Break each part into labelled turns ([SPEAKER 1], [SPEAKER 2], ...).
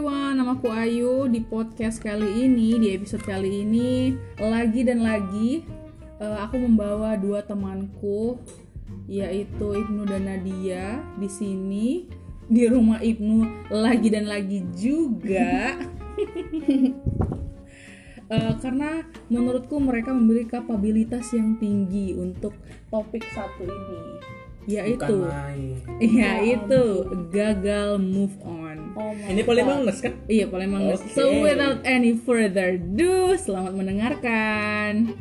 [SPEAKER 1] aku Ayu di podcast kali ini, di episode kali ini lagi dan lagi eh, aku membawa dua temanku yaitu Ibnu dan Nadia di sini di rumah Ibnu lagi dan lagi juga. Eh, karena menurutku mereka memiliki kapabilitas yang tinggi untuk topik satu ini
[SPEAKER 2] Bukan
[SPEAKER 1] yaitu
[SPEAKER 2] main.
[SPEAKER 1] yaitu gagal move on.
[SPEAKER 3] Oh my
[SPEAKER 2] Ini paling mangles kan?
[SPEAKER 1] Iya, paling mangus. So
[SPEAKER 2] Oke.
[SPEAKER 1] without any further ado, selamat mendengarkan.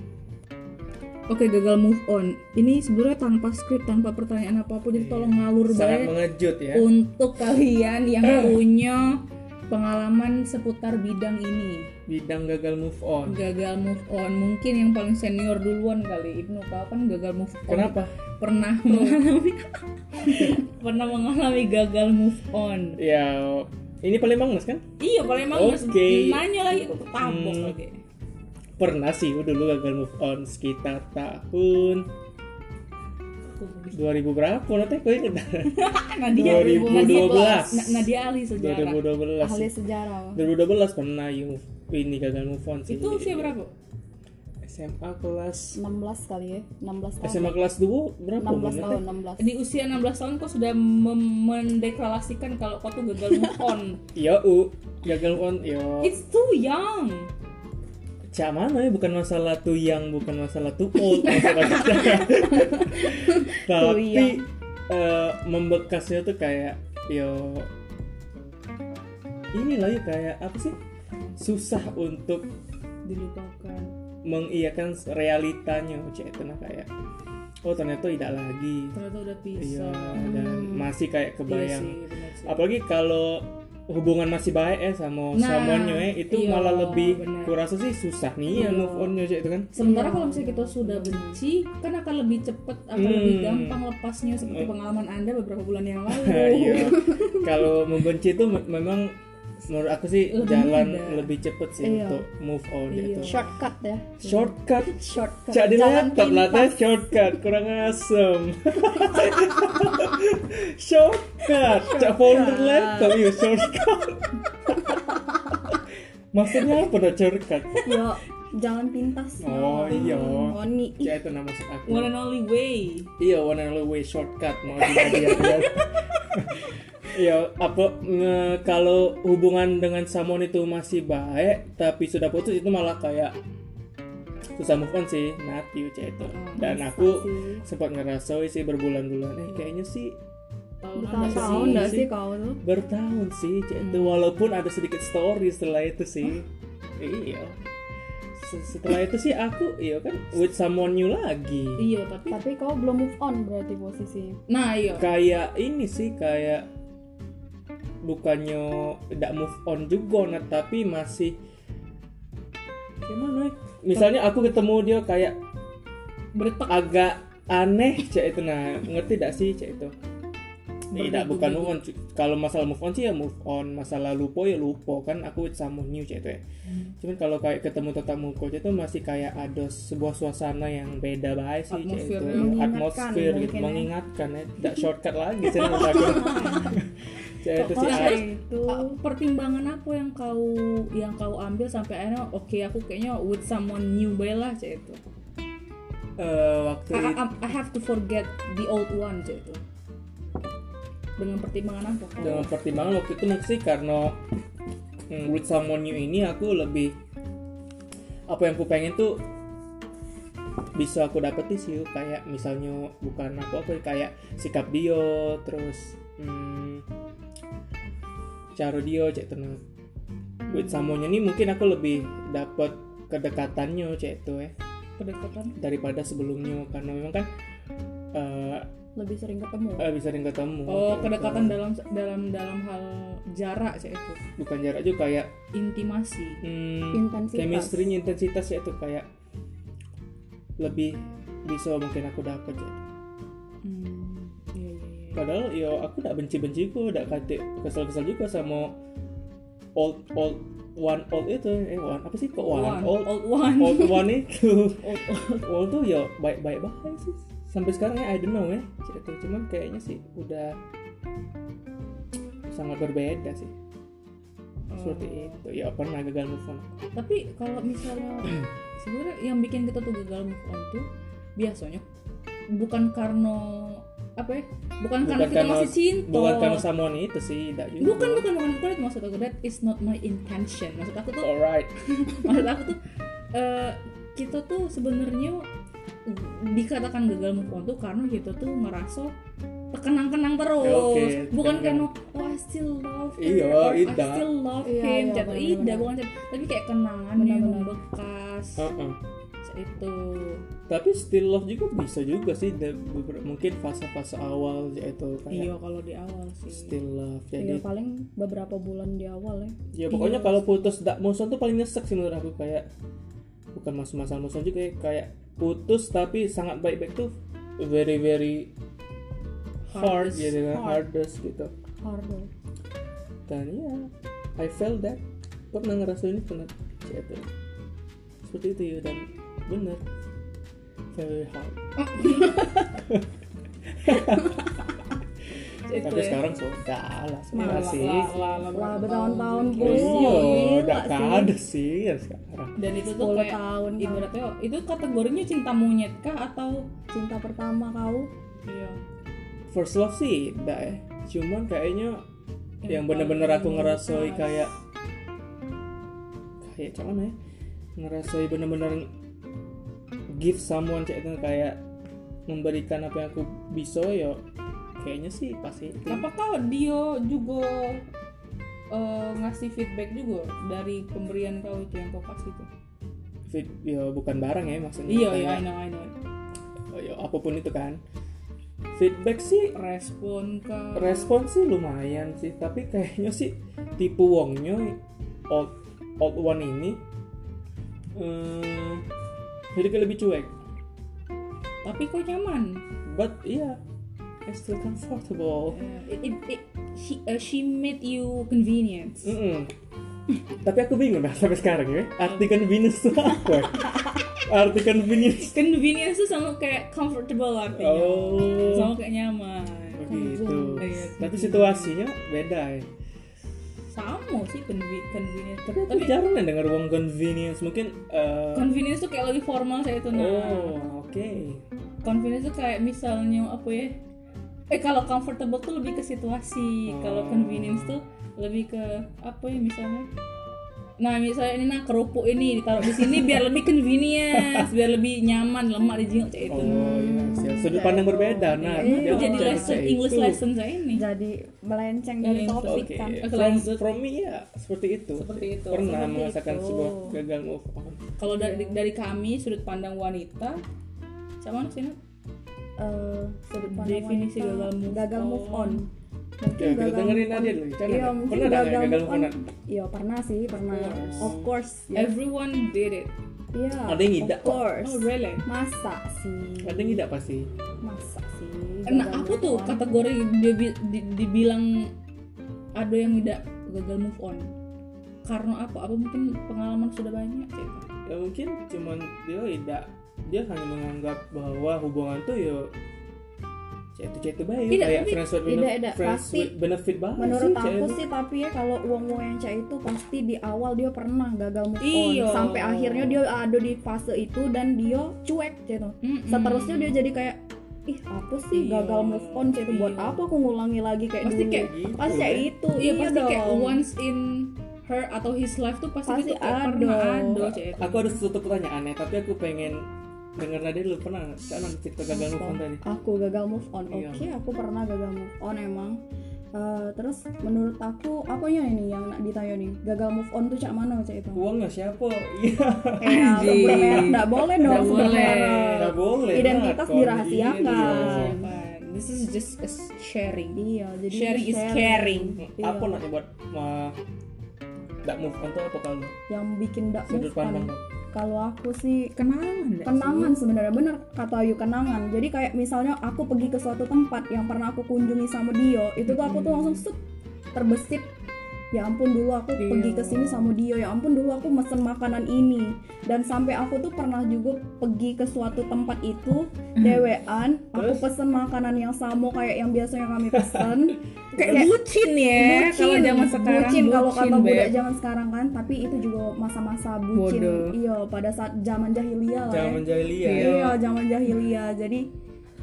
[SPEAKER 1] Oke, gagal move on. Ini sebenarnya tanpa skrip, tanpa pertanyaan apapun, jadi tolong ngalur
[SPEAKER 2] Iya. Sangat
[SPEAKER 1] banget
[SPEAKER 2] mengejut ya. Eh.
[SPEAKER 1] untuk kalian yang punya pengalaman seputar bidang ini.
[SPEAKER 2] Bidang gagal move on.
[SPEAKER 1] Gagal move on. Mungkin yang paling senior duluan kali. Ibnu kapan gagal move on?
[SPEAKER 2] Kenapa?
[SPEAKER 1] Pernah mengalami pernah mengalami gagal move on.
[SPEAKER 2] Ya, ini paling mangles kan?
[SPEAKER 1] Iya, paling mangus.
[SPEAKER 2] Oke.
[SPEAKER 1] Nanya lagi aku tabok
[SPEAKER 2] Hmm.
[SPEAKER 1] lagi.
[SPEAKER 2] Pernah sih gua dulu gagal move on sekitar tahun 2000 berapa? Nanti gue inget
[SPEAKER 1] Eh, Nadia
[SPEAKER 2] 2012.
[SPEAKER 1] Na- Nadia ahli sejarah.
[SPEAKER 2] 2012.
[SPEAKER 3] ahli sejarah
[SPEAKER 2] 2012 pernah you move- ini gagal move on sih.
[SPEAKER 1] Itu usia berapa?
[SPEAKER 2] SMA kelas
[SPEAKER 3] 16 kali ya 16 tahun
[SPEAKER 2] SMA kelas 2 berapa?
[SPEAKER 3] 16
[SPEAKER 2] Bang?
[SPEAKER 3] tahun
[SPEAKER 1] Di usia 16 tahun kok sudah mem- mendeklarasikan kalau kau tuh gagal move on.
[SPEAKER 2] Iya, U. Gagal move on, yo.
[SPEAKER 1] It's too young.
[SPEAKER 2] Cak mana ya bukan masalah tuh yang bukan masalah tuh old masalah kita.
[SPEAKER 1] iya.
[SPEAKER 3] yang.
[SPEAKER 2] tapi eh, membekasnya tuh kayak yo ini lah ya kayak apa sih susah untuk
[SPEAKER 1] Dilupakan.
[SPEAKER 2] mengiyakan realitanya cek itu nah kayak oh ternyata tidak lagi
[SPEAKER 1] Ternyata udah
[SPEAKER 2] iya
[SPEAKER 1] pisah.
[SPEAKER 2] dan masih kayak
[SPEAKER 1] Hmm. Iya sih,
[SPEAKER 2] kebayang
[SPEAKER 1] benar sih.
[SPEAKER 2] apalagi kalau hubungan masih baik eh sama
[SPEAKER 1] Nah,
[SPEAKER 2] samonyo eh itu
[SPEAKER 1] iya,
[SPEAKER 2] malah lebih
[SPEAKER 1] benar.
[SPEAKER 2] kurasa sih susah
[SPEAKER 1] Iya.
[SPEAKER 2] nih ya move on cek itu kan
[SPEAKER 1] Sementara kalau misalnya kita sudah benci, kan akan lebih cepet, akan
[SPEAKER 2] Hmm. Eh.
[SPEAKER 1] lebih gampang lepasnya seperti pengalaman Anda beberapa bulan yang lalu.
[SPEAKER 2] Iya. Kalau membenci itu me- memang menurut aku sih
[SPEAKER 1] Lebih
[SPEAKER 2] jalan
[SPEAKER 1] mudah.
[SPEAKER 2] lebih cepet sih
[SPEAKER 3] Iya.
[SPEAKER 2] untuk move on
[SPEAKER 1] Iya.
[SPEAKER 2] gitu.
[SPEAKER 3] shortcut ya
[SPEAKER 2] Shortcut.
[SPEAKER 3] shortcut
[SPEAKER 2] Cak di
[SPEAKER 3] Jalan
[SPEAKER 2] laptop lah
[SPEAKER 3] pintas.
[SPEAKER 2] teh shortcut kurang asem. shortcut. Cak folder laptop yuk shortcut. Maksudnya apa tuh shortcut?
[SPEAKER 3] Yo, jalan pintas
[SPEAKER 2] Oh iya.
[SPEAKER 3] Oni
[SPEAKER 2] Cak itu nama maksud aku.
[SPEAKER 1] One and only way.
[SPEAKER 2] Iya, one and only way shortcut mau dilihat Iya, apa nge- kalau hubungan dengan someone itu masih baik tapi sudah putus itu malah kayak susah move on sih, mati uce itu. Dan aku
[SPEAKER 3] sih.
[SPEAKER 2] sempat ngerasoi sih berbulan-bulan eh kayaknya sih
[SPEAKER 3] bertahun-tahun
[SPEAKER 2] Sih,
[SPEAKER 3] dah
[SPEAKER 2] sih.
[SPEAKER 3] sih kau tuh
[SPEAKER 2] bertahun sih uce itu walaupun ada sedikit story setelah itu sih. Iya. Se- Setelah itu sih aku iya kan with someone new lagi.
[SPEAKER 1] Iya, tapi
[SPEAKER 3] tapi kau belum move on berarti posisi
[SPEAKER 1] nah iya.
[SPEAKER 2] kayak ini sih kayak bukannya tidak move on juga nah tapi masih gimana ya? misalnya aku ketemu dia kayak
[SPEAKER 1] Bertek
[SPEAKER 2] agak aneh cek itu nah ngerti tidak sih cek itu tidak
[SPEAKER 1] Berbeda-beda.
[SPEAKER 2] bukan move on cu- kalau masalah move on sih ya move on masalah lupa ya lupa kan aku sama new cek itu ya
[SPEAKER 3] Hmm.
[SPEAKER 2] cuman kalau kayak ketemu tetap muka cek itu masih kayak ada sebuah suasana yang beda baik sih cek itu
[SPEAKER 1] Atmosfernya.
[SPEAKER 2] Atmosfer
[SPEAKER 3] Mengingatkan
[SPEAKER 2] gitu
[SPEAKER 3] mungkin ya. Iya.
[SPEAKER 2] mengingatkan ya tidak shortcut lagi sih menurut aku cek itu sih
[SPEAKER 3] oh
[SPEAKER 1] Kok
[SPEAKER 2] ah,
[SPEAKER 3] kayak itu
[SPEAKER 1] Uh, pertimbangan apa yang kau yang kau ambil sampai akhirnya oke aku kayaknya with someone new bae lah cek itu
[SPEAKER 2] eh, waktu
[SPEAKER 1] I,
[SPEAKER 2] itu
[SPEAKER 1] I, I have to forget the old one cek itu dengan pertimbangan apa kau?
[SPEAKER 2] dengan pertimbangan waktu itu mungkin sih karena mm, with someone new ini aku lebih apa yang aku pengen tuh bisa aku dapetin sih kayak misalnya bukan aku apa ya, kayak sikap dia terus mm, cara dia cek tenang with someone new ini mungkin aku lebih dapat kedekatannya cek itu ya
[SPEAKER 1] kedekatan
[SPEAKER 2] daripada sebelumnya karena memang kan eh,
[SPEAKER 3] lebih sering ketemu
[SPEAKER 2] eh, bisa sering ketemu
[SPEAKER 1] oh
[SPEAKER 2] kayak
[SPEAKER 1] kedekatan
[SPEAKER 2] gitu.
[SPEAKER 1] dalam dalam dalam hal jarak cek itu
[SPEAKER 2] bukan jarak juga kayak
[SPEAKER 1] intimasi
[SPEAKER 2] hmm,
[SPEAKER 3] intensitas
[SPEAKER 2] chemistry intensitas ya itu kayak lebih bisa mungkin aku dapat ya.
[SPEAKER 1] hmm. iya, iya, iya.
[SPEAKER 2] padahal yo aku tidak benci benci kok tidak kate kesel kesel juga sama old old one old itu eh one apa sih kok one,
[SPEAKER 1] One,
[SPEAKER 2] old
[SPEAKER 1] old one
[SPEAKER 2] old one itu
[SPEAKER 1] Old-
[SPEAKER 2] old tuh yo baik baik banget sih sampai sekarang ya I don't know ya Cik itu cuman
[SPEAKER 1] Oh.
[SPEAKER 2] kayaknya sih udah sangat berbeda sih seperti itu ya pernah gagal move on
[SPEAKER 1] tapi kalau misalnya sebenarnya yang bikin kita tuh gagal move on tuh biasanya bukan karena apa ya bukan, karena kita masih cinta
[SPEAKER 2] bukan karena someone itu sih tidak juga
[SPEAKER 1] bukan bukan bukan bukan itu maksud aku that is not my intention maksud aku tuh
[SPEAKER 2] alright
[SPEAKER 1] maksud aku tuh eh, kita tuh sebenarnya dikatakan gagal move on tuh karena kita tuh ngerasa terkenang-kenang terus
[SPEAKER 2] Ya, Oke,
[SPEAKER 1] bukan karena
[SPEAKER 2] terkenang.
[SPEAKER 1] oh I still love her
[SPEAKER 2] Iya,
[SPEAKER 1] or I
[SPEAKER 2] Ida.
[SPEAKER 1] still love
[SPEAKER 3] Iya,
[SPEAKER 1] him
[SPEAKER 3] iya,
[SPEAKER 1] jatuh
[SPEAKER 3] benar-benar.
[SPEAKER 1] ida bukan jatuh- tapi kayak kenangan yang
[SPEAKER 3] Benar-benar.
[SPEAKER 1] membekas
[SPEAKER 2] Heeh.
[SPEAKER 1] itu
[SPEAKER 2] tapi still love juga bisa juga sih da- beber- mungkin fase-fase awal yaitu
[SPEAKER 1] iya
[SPEAKER 2] kayak
[SPEAKER 1] kalau di awal sih
[SPEAKER 2] still love
[SPEAKER 3] ya
[SPEAKER 2] jadi
[SPEAKER 3] paling beberapa bulan di awal ya
[SPEAKER 2] ya
[SPEAKER 1] Iya.
[SPEAKER 2] pokoknya kalau putus tidak musuhan tuh paling nyesek sih menurut aku kayak bukan mas masalah musuhan juga ya, kayak putus tapi sangat baik-baik tuh very very hard
[SPEAKER 1] Hardest.
[SPEAKER 2] jadi
[SPEAKER 3] Hard.
[SPEAKER 2] hardest gitu
[SPEAKER 3] harder
[SPEAKER 2] dan ya I felt that pernah ngerasain ini pernah kayak itu ya. seperti itu ya dan bener very hard
[SPEAKER 1] Itu
[SPEAKER 2] tapi
[SPEAKER 1] ya.
[SPEAKER 2] sekarang sudah lah
[SPEAKER 1] Malah,
[SPEAKER 2] sekarang Iya sih
[SPEAKER 1] lah, lah, lah,
[SPEAKER 3] lah
[SPEAKER 1] berapa tahun.
[SPEAKER 3] bertahun-tahun pun
[SPEAKER 2] iya udah
[SPEAKER 3] gila sih.
[SPEAKER 2] ada sih ya sekarang
[SPEAKER 1] dan itu tuh
[SPEAKER 3] 10
[SPEAKER 1] kayak
[SPEAKER 3] tahun
[SPEAKER 1] ibaratnya itu kategorinya cinta monyet kah atau
[SPEAKER 3] cinta pertama kau
[SPEAKER 1] iya
[SPEAKER 2] first love sih tidak ya cuman kayaknya yang,
[SPEAKER 1] Yang
[SPEAKER 2] bener-bener
[SPEAKER 1] paling
[SPEAKER 2] aku ngerasoi
[SPEAKER 1] membekas.
[SPEAKER 2] kayak kayak cuman ya ngerasoi bener-bener give someone kayak itu kayak memberikan apa yang aku bisa ya kayaknya sih pasti itu
[SPEAKER 1] apakah dia juga eh, ngasih feedback juga dari pemberian kau itu yang kau kasih itu
[SPEAKER 2] Fit- ya bukan barang ya maksudnya
[SPEAKER 1] iya iya
[SPEAKER 2] kayak,
[SPEAKER 1] I know I know
[SPEAKER 2] ya, apapun itu kan feedback sih
[SPEAKER 1] respon kah
[SPEAKER 2] respon sih lumayan sih tapi kayaknya sih tipe wongnya old old one ini eh jadi kayak lebih cuek
[SPEAKER 1] tapi kau nyaman
[SPEAKER 2] but iya I still comfortable
[SPEAKER 1] Eh, it, it, it- she, eh, she made you convenience
[SPEAKER 2] Mm-mm. tapi aku bingung dah sampai sekarang ya arti convenience itu apa arti convenience
[SPEAKER 1] convenience tuh sama kayak comfortable artinya
[SPEAKER 2] oh
[SPEAKER 1] Iya. sama kayak nyaman
[SPEAKER 2] begitu
[SPEAKER 1] Iya.
[SPEAKER 2] tapi situasinya beda ya
[SPEAKER 1] sama sih conve- convenience
[SPEAKER 2] tapi aku jarang ya dengar wong convenience mungkin eh,
[SPEAKER 1] convenience tuh kayak lagi formal saya itu Kan- nah
[SPEAKER 2] oh oke
[SPEAKER 1] Convenience tuh kayak misalnya apa ya? Eh kalau comfortable tuh lebih ke situasi, kalau
[SPEAKER 2] Oh.
[SPEAKER 1] convenience tuh lebih ke apa ya misalnya? Nah misalnya ini nah kerupuk ini ditaruh di sini biar lebih convenience, biar lebih nyaman lemak di jenguk kayak itu.
[SPEAKER 2] Oh iya, siap. sudut pandang berbeda. Nah,
[SPEAKER 1] Itu
[SPEAKER 2] dia
[SPEAKER 1] Gitu. Iya, jadi
[SPEAKER 2] percaya
[SPEAKER 1] lesson
[SPEAKER 2] itu.
[SPEAKER 1] English lesson saya ini.
[SPEAKER 3] jadi melenceng dari
[SPEAKER 1] Melenceng.
[SPEAKER 3] topik
[SPEAKER 2] Oke,
[SPEAKER 3] kan
[SPEAKER 1] Aku
[SPEAKER 2] from,
[SPEAKER 1] lanjut.
[SPEAKER 2] from me ya seperti itu.
[SPEAKER 1] Seperti itu.
[SPEAKER 2] Pernah
[SPEAKER 3] Seperti
[SPEAKER 2] merasakan
[SPEAKER 3] itu.
[SPEAKER 2] sebuah oh, gagal move on.
[SPEAKER 1] Kalau dari dari kami sudut pandang wanita, sama sih Nat?
[SPEAKER 3] Eh, sudut pandang
[SPEAKER 1] Definisi
[SPEAKER 3] wanita.
[SPEAKER 1] gagal move
[SPEAKER 3] gagal move on,
[SPEAKER 1] on.
[SPEAKER 3] Mungkin
[SPEAKER 2] Ya, kita
[SPEAKER 3] gagal
[SPEAKER 2] dengerin
[SPEAKER 3] move on.
[SPEAKER 2] Nadia dulu. Gimana,
[SPEAKER 3] iya
[SPEAKER 2] Nat?
[SPEAKER 3] mungkin
[SPEAKER 2] Pernah nggak
[SPEAKER 3] gagal, move on,
[SPEAKER 2] Nat?
[SPEAKER 3] iya pernah sih pernah
[SPEAKER 1] Of course.
[SPEAKER 3] of course ya.
[SPEAKER 1] Everyone did it.
[SPEAKER 3] Iya,
[SPEAKER 2] Ada yang tidak
[SPEAKER 3] of
[SPEAKER 2] kok.
[SPEAKER 3] course
[SPEAKER 1] Oh really?
[SPEAKER 3] masa sih
[SPEAKER 2] Kadang tidak pasti.
[SPEAKER 3] masa sih
[SPEAKER 1] Nah
[SPEAKER 3] gagal
[SPEAKER 1] aku
[SPEAKER 3] move
[SPEAKER 1] tuh
[SPEAKER 3] on.
[SPEAKER 1] kategori dia bi- di- dibilang ada yang tidak gagal move on karena apa? Apa mungkin pengalaman sudah banyak? Iya, Cik?
[SPEAKER 2] Ya mungkin cuman dia tidak dia hanya menganggap bahwa hubungan tuh ya itu itu baik
[SPEAKER 1] Tidak,
[SPEAKER 2] kayak
[SPEAKER 1] tapi-
[SPEAKER 2] friends with
[SPEAKER 3] tidak,
[SPEAKER 2] benefit,
[SPEAKER 3] tidak.
[SPEAKER 2] friends
[SPEAKER 3] Pasti.
[SPEAKER 2] with benefit banget
[SPEAKER 1] Iya
[SPEAKER 3] menurut
[SPEAKER 2] sih,
[SPEAKER 3] aku
[SPEAKER 2] cewek.
[SPEAKER 3] sih tapi ya kalau uang-uang yang cah itu pasti di awal dia pernah gagal move on
[SPEAKER 1] Iya.
[SPEAKER 3] sampai akhirnya dia ada di fase itu dan dia cuek gitu
[SPEAKER 1] Mm-mm.
[SPEAKER 3] seterusnya dia jadi kayak ih apa sih
[SPEAKER 1] Iya.
[SPEAKER 3] gagal move on cah itu buat
[SPEAKER 1] Iya.
[SPEAKER 3] apa aku ngulangi lagi kayak
[SPEAKER 1] Pasti
[SPEAKER 3] dulu
[SPEAKER 1] kayak
[SPEAKER 2] gitu,
[SPEAKER 3] pasti kayak
[SPEAKER 2] ya.
[SPEAKER 3] itu
[SPEAKER 1] Iya pasti kayak
[SPEAKER 3] dong.
[SPEAKER 1] once in her atau his life tuh pasti,
[SPEAKER 3] Pasti
[SPEAKER 1] gitu kayak
[SPEAKER 3] ada.
[SPEAKER 1] pernah ada Iya, Cik.
[SPEAKER 2] aku harus tutup pertanyaan ya tapi aku pengen denger Nadia dulu pernah nggak sekarang cerita gagal move on tadi
[SPEAKER 3] aku gagal move on oke
[SPEAKER 2] Iya.
[SPEAKER 3] aku pernah gagal move on emang Eh, terus menurut aku apanya ini yang nak ditanya nih gagal move on tuh cak mana cak itu
[SPEAKER 2] uangnya siapa iya
[SPEAKER 3] Eh, aku
[SPEAKER 1] Anjing.
[SPEAKER 3] bermerek nggak boleh dong
[SPEAKER 1] Nggak boleh.
[SPEAKER 3] sebenarnya.
[SPEAKER 2] nggak boleh
[SPEAKER 3] Identitas
[SPEAKER 2] Nat. Kalau
[SPEAKER 3] dirahasiakan.
[SPEAKER 2] iya.
[SPEAKER 1] Bukan. kan? This is just a sharing.
[SPEAKER 3] Iya, jadi
[SPEAKER 1] Sharing is caring. Eh,
[SPEAKER 3] Iya.
[SPEAKER 2] apa nak buat ma tidak move on tuh apa kalau
[SPEAKER 3] Yang bikin dak
[SPEAKER 2] sudut
[SPEAKER 3] move on.
[SPEAKER 2] pandang Iya
[SPEAKER 3] Kalau aku sih
[SPEAKER 1] Kenangan.
[SPEAKER 3] kenangan sebenarnya bener kata Ayu kenangan. Jadi kayak misalnya aku
[SPEAKER 2] Hmm.
[SPEAKER 3] pergi ke suatu tempat yang pernah aku kunjungi sama Dio, itu tuh aku tuh langsung set terbesit ya ampun dulu aku
[SPEAKER 1] Iya.
[SPEAKER 3] pergi ke sini sama dia ya ampun dulu aku mesen makanan ini dan sampai aku tuh pernah juga pergi ke suatu tempat itu
[SPEAKER 1] Hmm.
[SPEAKER 3] dewean
[SPEAKER 2] Terus?
[SPEAKER 3] aku pesen makanan yang sama kayak yang biasanya kami pesen
[SPEAKER 1] kayak bucin ya kalau
[SPEAKER 3] Bucin.
[SPEAKER 1] zaman sekarang
[SPEAKER 3] bucin kalau kata
[SPEAKER 1] Beb.
[SPEAKER 3] budak zaman sekarang kan tapi itu juga masa-masa bucin
[SPEAKER 1] Bodoh.
[SPEAKER 3] iya pada saat zaman jahiliyah lah
[SPEAKER 2] jangan
[SPEAKER 3] ya.
[SPEAKER 2] menjahiliya
[SPEAKER 1] Iya.
[SPEAKER 3] Iya, zaman jahiliyah. Jadi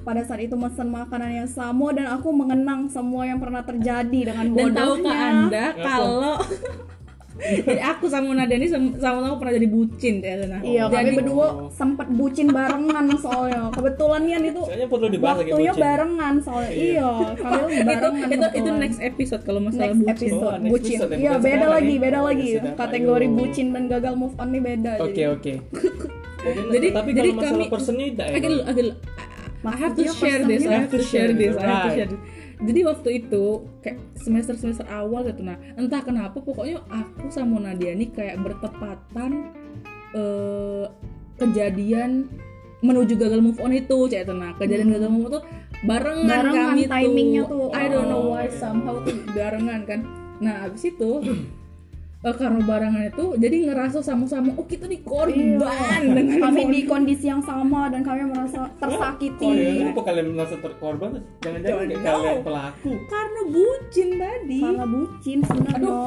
[SPEAKER 3] pada saat itu mesen makanan yang sama dan aku mengenang semua yang pernah terjadi
[SPEAKER 1] dan
[SPEAKER 3] dengan bodohnya.
[SPEAKER 1] tahukah anda kalau jadi aku sama Nadani sama- sama-sama pernah jadi bucin ya Nana.
[SPEAKER 3] Iya, kami
[SPEAKER 1] jadi
[SPEAKER 3] berdua sempat bucin barengan soalnya. Kebetulan Yan itu
[SPEAKER 2] Kayaknya perlu dibahas lagi
[SPEAKER 3] waktunya
[SPEAKER 2] bucin.
[SPEAKER 3] barengan soalnya. Iya, kami
[SPEAKER 1] itu
[SPEAKER 3] lagi barengan.
[SPEAKER 1] itu, itu
[SPEAKER 3] kebetulan.
[SPEAKER 1] next episode kalau masalah
[SPEAKER 3] Next
[SPEAKER 1] bucin
[SPEAKER 3] episode
[SPEAKER 2] Oh, next
[SPEAKER 3] bucin.
[SPEAKER 2] episode ya,
[SPEAKER 3] Iya,
[SPEAKER 2] bukan
[SPEAKER 3] beda
[SPEAKER 2] sekarang
[SPEAKER 3] lagi,
[SPEAKER 2] ya.
[SPEAKER 3] beda
[SPEAKER 2] Oh,
[SPEAKER 3] lagi.
[SPEAKER 2] ya sudah.
[SPEAKER 3] Kategori
[SPEAKER 2] Ayo.
[SPEAKER 3] bucin dan gagal move on nih beda.
[SPEAKER 2] Oke
[SPEAKER 3] jadi.
[SPEAKER 2] oke.
[SPEAKER 1] Jadi-
[SPEAKER 2] tapi
[SPEAKER 1] jadi
[SPEAKER 2] kalau masalah
[SPEAKER 1] kami-
[SPEAKER 2] personnya tidak ya.
[SPEAKER 1] I can- I can- I have to
[SPEAKER 3] Maksudnya
[SPEAKER 1] share this, I have to share this, I have to
[SPEAKER 2] Right.
[SPEAKER 1] share this. Jadi waktu itu kayak semester semester awal gitu nah entah kenapa pokoknya aku sama Nadia nih kayak bertepatan eh, kejadian menuju gagal move on itu cek nah kejadian gagal move on tuh barengan,
[SPEAKER 3] Hmm. Barengan,
[SPEAKER 1] kami
[SPEAKER 3] kan timingnya
[SPEAKER 1] tuh
[SPEAKER 3] tuh.
[SPEAKER 1] I don't know why
[SPEAKER 2] Oh.
[SPEAKER 1] somehow tuh barengan kan nah abis itu eh, karena barengan itu jadi ngerasa sama-sama oh kita nih korban
[SPEAKER 3] Iya.
[SPEAKER 1] dengan
[SPEAKER 3] Kami
[SPEAKER 1] move on
[SPEAKER 3] di kondisi yang sama dan kami merasa tersakiti.
[SPEAKER 2] Oh, iya. Kenapa kalian merasa terkorban? Jangan-jangan
[SPEAKER 1] Don't
[SPEAKER 2] kayak
[SPEAKER 1] know.
[SPEAKER 2] kalian pelaku.
[SPEAKER 1] karena bucin tadi
[SPEAKER 3] Karena bucin sebenarnya.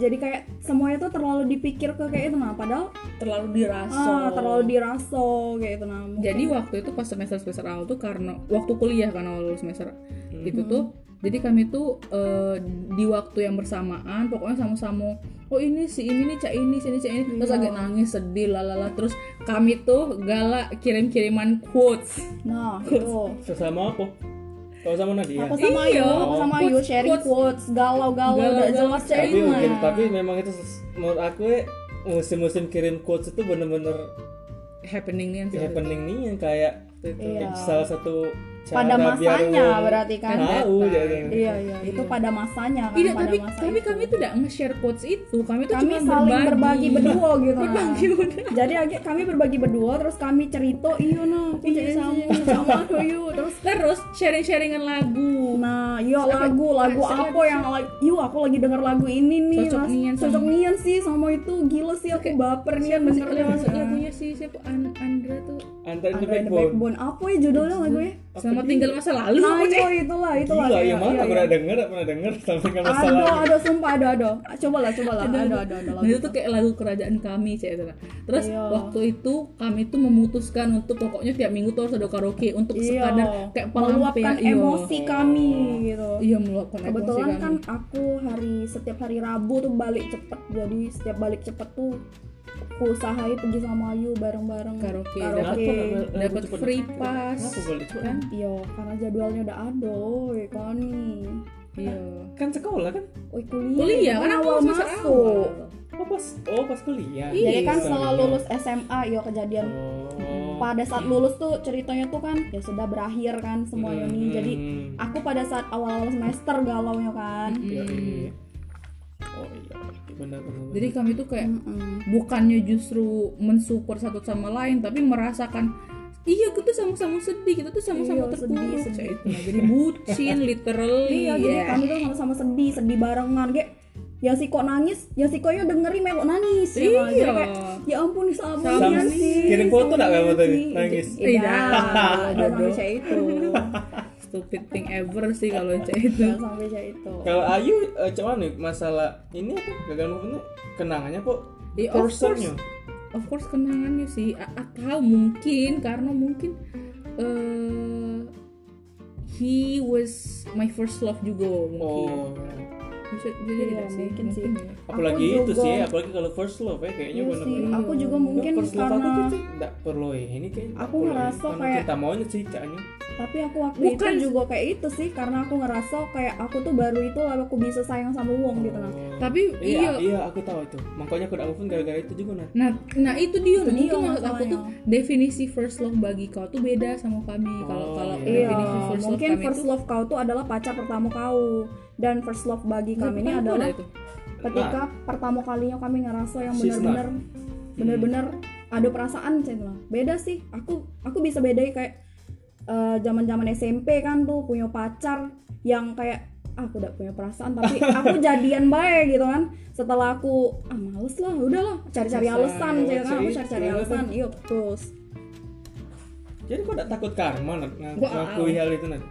[SPEAKER 3] Jadi kayak semuanya tuh terlalu dipikir ke kayak itu nah padahal
[SPEAKER 1] terlalu
[SPEAKER 3] ah,
[SPEAKER 1] dirasa
[SPEAKER 3] terlalu diraso kayak itu nah. Mungkin-
[SPEAKER 1] jadi waktu itu pas semester semester awal tuh karena waktu kuliah kan awal semester
[SPEAKER 3] Hmm.
[SPEAKER 1] itu tuh jadi kami tuh eh, di waktu yang bersamaan pokoknya sama-sama oh ini si ini nih cak ini si ini cak ini terus
[SPEAKER 3] Iya.
[SPEAKER 1] agak nangis sedih lalala terus kami tuh galak kirim-kiriman quotes
[SPEAKER 3] nah itu.
[SPEAKER 2] Sesama apa? Kalau sama Nadia.
[SPEAKER 3] Aku sama
[SPEAKER 1] Iya.
[SPEAKER 3] Ayu, aku sama Ayu
[SPEAKER 1] Quotes,
[SPEAKER 3] sharing
[SPEAKER 1] quotes.
[SPEAKER 3] quotes galau-galau udah
[SPEAKER 1] Galau-galau
[SPEAKER 3] jelas
[SPEAKER 1] cewek.
[SPEAKER 2] tapi
[SPEAKER 3] cewek
[SPEAKER 2] mungkin
[SPEAKER 3] mah.
[SPEAKER 2] tapi memang itu ses- menurut aku ya, musim-musim kirim quotes itu bener-bener
[SPEAKER 1] happening nih
[SPEAKER 2] happening nih yang kayak
[SPEAKER 3] Iya.
[SPEAKER 2] salah satu cara
[SPEAKER 3] Pada
[SPEAKER 2] biar
[SPEAKER 3] masanya
[SPEAKER 2] orang
[SPEAKER 3] berarti kan.
[SPEAKER 2] tahu ya jadi
[SPEAKER 3] Iya iya, itu pada masanya kan
[SPEAKER 1] tidak Iya,
[SPEAKER 3] pada
[SPEAKER 1] tapi
[SPEAKER 3] masa
[SPEAKER 1] tapi
[SPEAKER 3] itu.
[SPEAKER 1] kami tuh tidak nge-share quotes itu kami tuh
[SPEAKER 3] kami
[SPEAKER 1] cuma
[SPEAKER 3] saling berbagi, berdua gitu nah.
[SPEAKER 1] berbagi udah
[SPEAKER 3] jadi ag- kami berbagi berdua terus kami cerita iya nah aku jadi sama
[SPEAKER 1] iya."
[SPEAKER 3] sama aku yuk terus
[SPEAKER 1] terus sharing-sharingan lagu
[SPEAKER 3] nah yo lagu lagu
[SPEAKER 1] sampai-
[SPEAKER 3] apa yang like yuk aku lagi denger lagu ini nih
[SPEAKER 1] Cocok
[SPEAKER 3] Mas.
[SPEAKER 1] nian sama-
[SPEAKER 3] cocok nian sih sama itu gila sih aku baper
[SPEAKER 1] Siapa
[SPEAKER 3] nian
[SPEAKER 1] sih
[SPEAKER 3] dengernya
[SPEAKER 1] lagu-
[SPEAKER 3] Nah.
[SPEAKER 1] lagunya si siapa An- Andra tuh
[SPEAKER 2] antara
[SPEAKER 3] Ada
[SPEAKER 2] the
[SPEAKER 3] The
[SPEAKER 2] backbone
[SPEAKER 3] Backbone apa ya judulnya lagunya
[SPEAKER 1] Selamat tinggal masa lalu
[SPEAKER 3] nah
[SPEAKER 1] aku
[SPEAKER 3] itu
[SPEAKER 1] cek.
[SPEAKER 3] itulah itulah
[SPEAKER 2] gila
[SPEAKER 3] kayak-
[SPEAKER 2] yang mana
[SPEAKER 3] iya,
[SPEAKER 2] pernah
[SPEAKER 3] iya.
[SPEAKER 2] denger pernah denger sampai nggak
[SPEAKER 3] ada
[SPEAKER 2] masalah
[SPEAKER 3] ada sumpah ada ada coba lah coba lah ada ada ada,
[SPEAKER 1] Nah
[SPEAKER 3] lagu.
[SPEAKER 1] itu tuh kayak lagu kerajaan kami cek itu. Terus
[SPEAKER 3] Iya.
[SPEAKER 1] waktu itu kami tuh memutuskan untuk pokoknya tiap minggu tuh harus ada karaoke untuk
[SPEAKER 3] Iya.
[SPEAKER 1] sekadar kayak
[SPEAKER 3] meluapkan
[SPEAKER 1] pelampian iya.
[SPEAKER 3] emosi kami gitu
[SPEAKER 1] Iya meluapkan emosi
[SPEAKER 3] Kebetulan
[SPEAKER 1] kami.
[SPEAKER 3] kan aku hari setiap hari Rabu tuh balik cepet, jadi setiap balik cepet tuh aku usahain pergi sama Ayu bareng-bareng
[SPEAKER 1] Karaoke,
[SPEAKER 3] Karaoke.
[SPEAKER 1] Dapat free pass.
[SPEAKER 2] Kenapa boleh cepet?
[SPEAKER 1] Kan?
[SPEAKER 3] Iya, karena jadwalnya udah ada, ya kan nih.
[SPEAKER 1] Iya.
[SPEAKER 2] kan sekolah kan
[SPEAKER 3] Woi kuliah,
[SPEAKER 1] Kuliah
[SPEAKER 3] kan
[SPEAKER 1] kan aku
[SPEAKER 3] awal
[SPEAKER 1] masuk
[SPEAKER 3] masuk.
[SPEAKER 2] oh pas oh pas kuliah
[SPEAKER 1] Iya,
[SPEAKER 3] Jadi kan
[SPEAKER 2] Sorry.
[SPEAKER 3] setelah lulus SMA, yo iya, kejadian
[SPEAKER 2] Oh.
[SPEAKER 3] pada saat lulus tuh ceritanya tuh kan ya sudah berakhir kan semuanya nih.
[SPEAKER 2] Hmm,
[SPEAKER 3] Jadi ah.
[SPEAKER 2] hmm.
[SPEAKER 3] aku pada saat awal-awal semester galaunya kan.
[SPEAKER 2] Iya,
[SPEAKER 1] Mm.
[SPEAKER 2] iya. oh iya benar benar
[SPEAKER 1] Jadi kami tuh kayak
[SPEAKER 3] Mm-mm.
[SPEAKER 1] bukannya justru mensupport satu sama lain tapi merasakan iya kita sama-sama sedih kita tuh sama-sama
[SPEAKER 3] Iya,
[SPEAKER 1] terpuruk
[SPEAKER 3] sedih, sedih.
[SPEAKER 1] Cak, itu nah, jadi bucin literally
[SPEAKER 3] Iya, jadi
[SPEAKER 1] ya.
[SPEAKER 3] kami tuh sama-sama sedih, sedih barengan kayak ya si kok nangis, ya si kok dengerin melok nangis. ya kan? Jadi
[SPEAKER 1] Iya.
[SPEAKER 3] kayak, ya ampun nih sama
[SPEAKER 1] Sama
[SPEAKER 3] Nian
[SPEAKER 1] sih.
[SPEAKER 3] sih.
[SPEAKER 2] Kirim foto
[SPEAKER 3] sama
[SPEAKER 2] nggak kamu
[SPEAKER 3] Nian
[SPEAKER 2] tadi?
[SPEAKER 3] sih.
[SPEAKER 2] Nangis.
[SPEAKER 3] Iya,
[SPEAKER 1] Tidak.
[SPEAKER 3] udah sampai saya itu.
[SPEAKER 1] stupid thing ever sih kalau gitu. Cak itu
[SPEAKER 3] Udah sampai saya itu.
[SPEAKER 2] Kalau Ayu, eh, cuman nih masalah ini apa gagal move on-nya, kenangannya kok
[SPEAKER 1] Ya, of
[SPEAKER 2] personnya?
[SPEAKER 1] of course kenangannya sih A- atau mungkin karena mungkin eh he was my first love juga mungkin
[SPEAKER 2] Oh,
[SPEAKER 1] bisa jadi
[SPEAKER 3] Iya,
[SPEAKER 1] tidak sih ya.
[SPEAKER 3] mungkin sih.
[SPEAKER 2] apalagi
[SPEAKER 3] Aku
[SPEAKER 2] itu
[SPEAKER 3] juga-
[SPEAKER 2] sih, apalagi kalau first love ya kayaknya
[SPEAKER 3] Iya
[SPEAKER 2] bener
[SPEAKER 3] sih,
[SPEAKER 2] benar
[SPEAKER 3] aku juga mungkin
[SPEAKER 2] first love
[SPEAKER 3] karena
[SPEAKER 2] aku tuh tidak perlu ya. Ini kayak nggak
[SPEAKER 3] Aku
[SPEAKER 2] perlu ya.
[SPEAKER 3] ngerasa
[SPEAKER 2] Karena
[SPEAKER 3] kayak-
[SPEAKER 2] cinta maunya sih caknya.
[SPEAKER 3] tapi aku waktu
[SPEAKER 1] Bukan.
[SPEAKER 3] itu juga kayak itu sih karena aku ngerasa kayak aku tuh baru itu lalu aku bisa sayang sama Wong gitu nah.
[SPEAKER 1] tapi iya,
[SPEAKER 2] iya, iya aku tahu itu. Makanya aku tidak move on gara-gara itu juga nah.
[SPEAKER 1] Nah, nah itu dia
[SPEAKER 3] Itu
[SPEAKER 1] mungkin
[SPEAKER 3] dia
[SPEAKER 1] maksud aku
[SPEAKER 3] masalahnya.
[SPEAKER 1] tuh definisi first love bagi kau tuh beda sama kami. Kalau
[SPEAKER 2] Oh,
[SPEAKER 1] kalau
[SPEAKER 2] Iya,
[SPEAKER 3] Iya,
[SPEAKER 1] definisi first love
[SPEAKER 3] mungkin
[SPEAKER 1] kami
[SPEAKER 3] first
[SPEAKER 1] tuh
[SPEAKER 3] love kau tuh adalah pacar pertama kau dan first love bagi kami ini
[SPEAKER 1] Kenapa Nah.
[SPEAKER 3] adalah
[SPEAKER 1] itu.
[SPEAKER 2] Nah,
[SPEAKER 3] ketika pertama kalinya kami ngerasa yang
[SPEAKER 2] She's
[SPEAKER 3] benar-benar
[SPEAKER 1] Hmm.
[SPEAKER 3] benar-benar ada perasaan cendela beda sih aku aku bisa bedain kayak eh, zaman-zaman SMP kan tuh punya pacar yang kayak ah, aku udah punya perasaan tapi aku jadian baik gitu kan setelah aku ah males lah udahlah cari-cari
[SPEAKER 2] Masa,
[SPEAKER 3] alasan
[SPEAKER 2] oh,
[SPEAKER 3] gitu kan
[SPEAKER 2] cari-
[SPEAKER 3] aku cari-cari
[SPEAKER 2] cari
[SPEAKER 3] alasan
[SPEAKER 2] alasan.
[SPEAKER 3] iya terus
[SPEAKER 2] Jadi kok gak takut karma Nat, ng-
[SPEAKER 3] Gua-
[SPEAKER 2] ngakui hal itu Nat?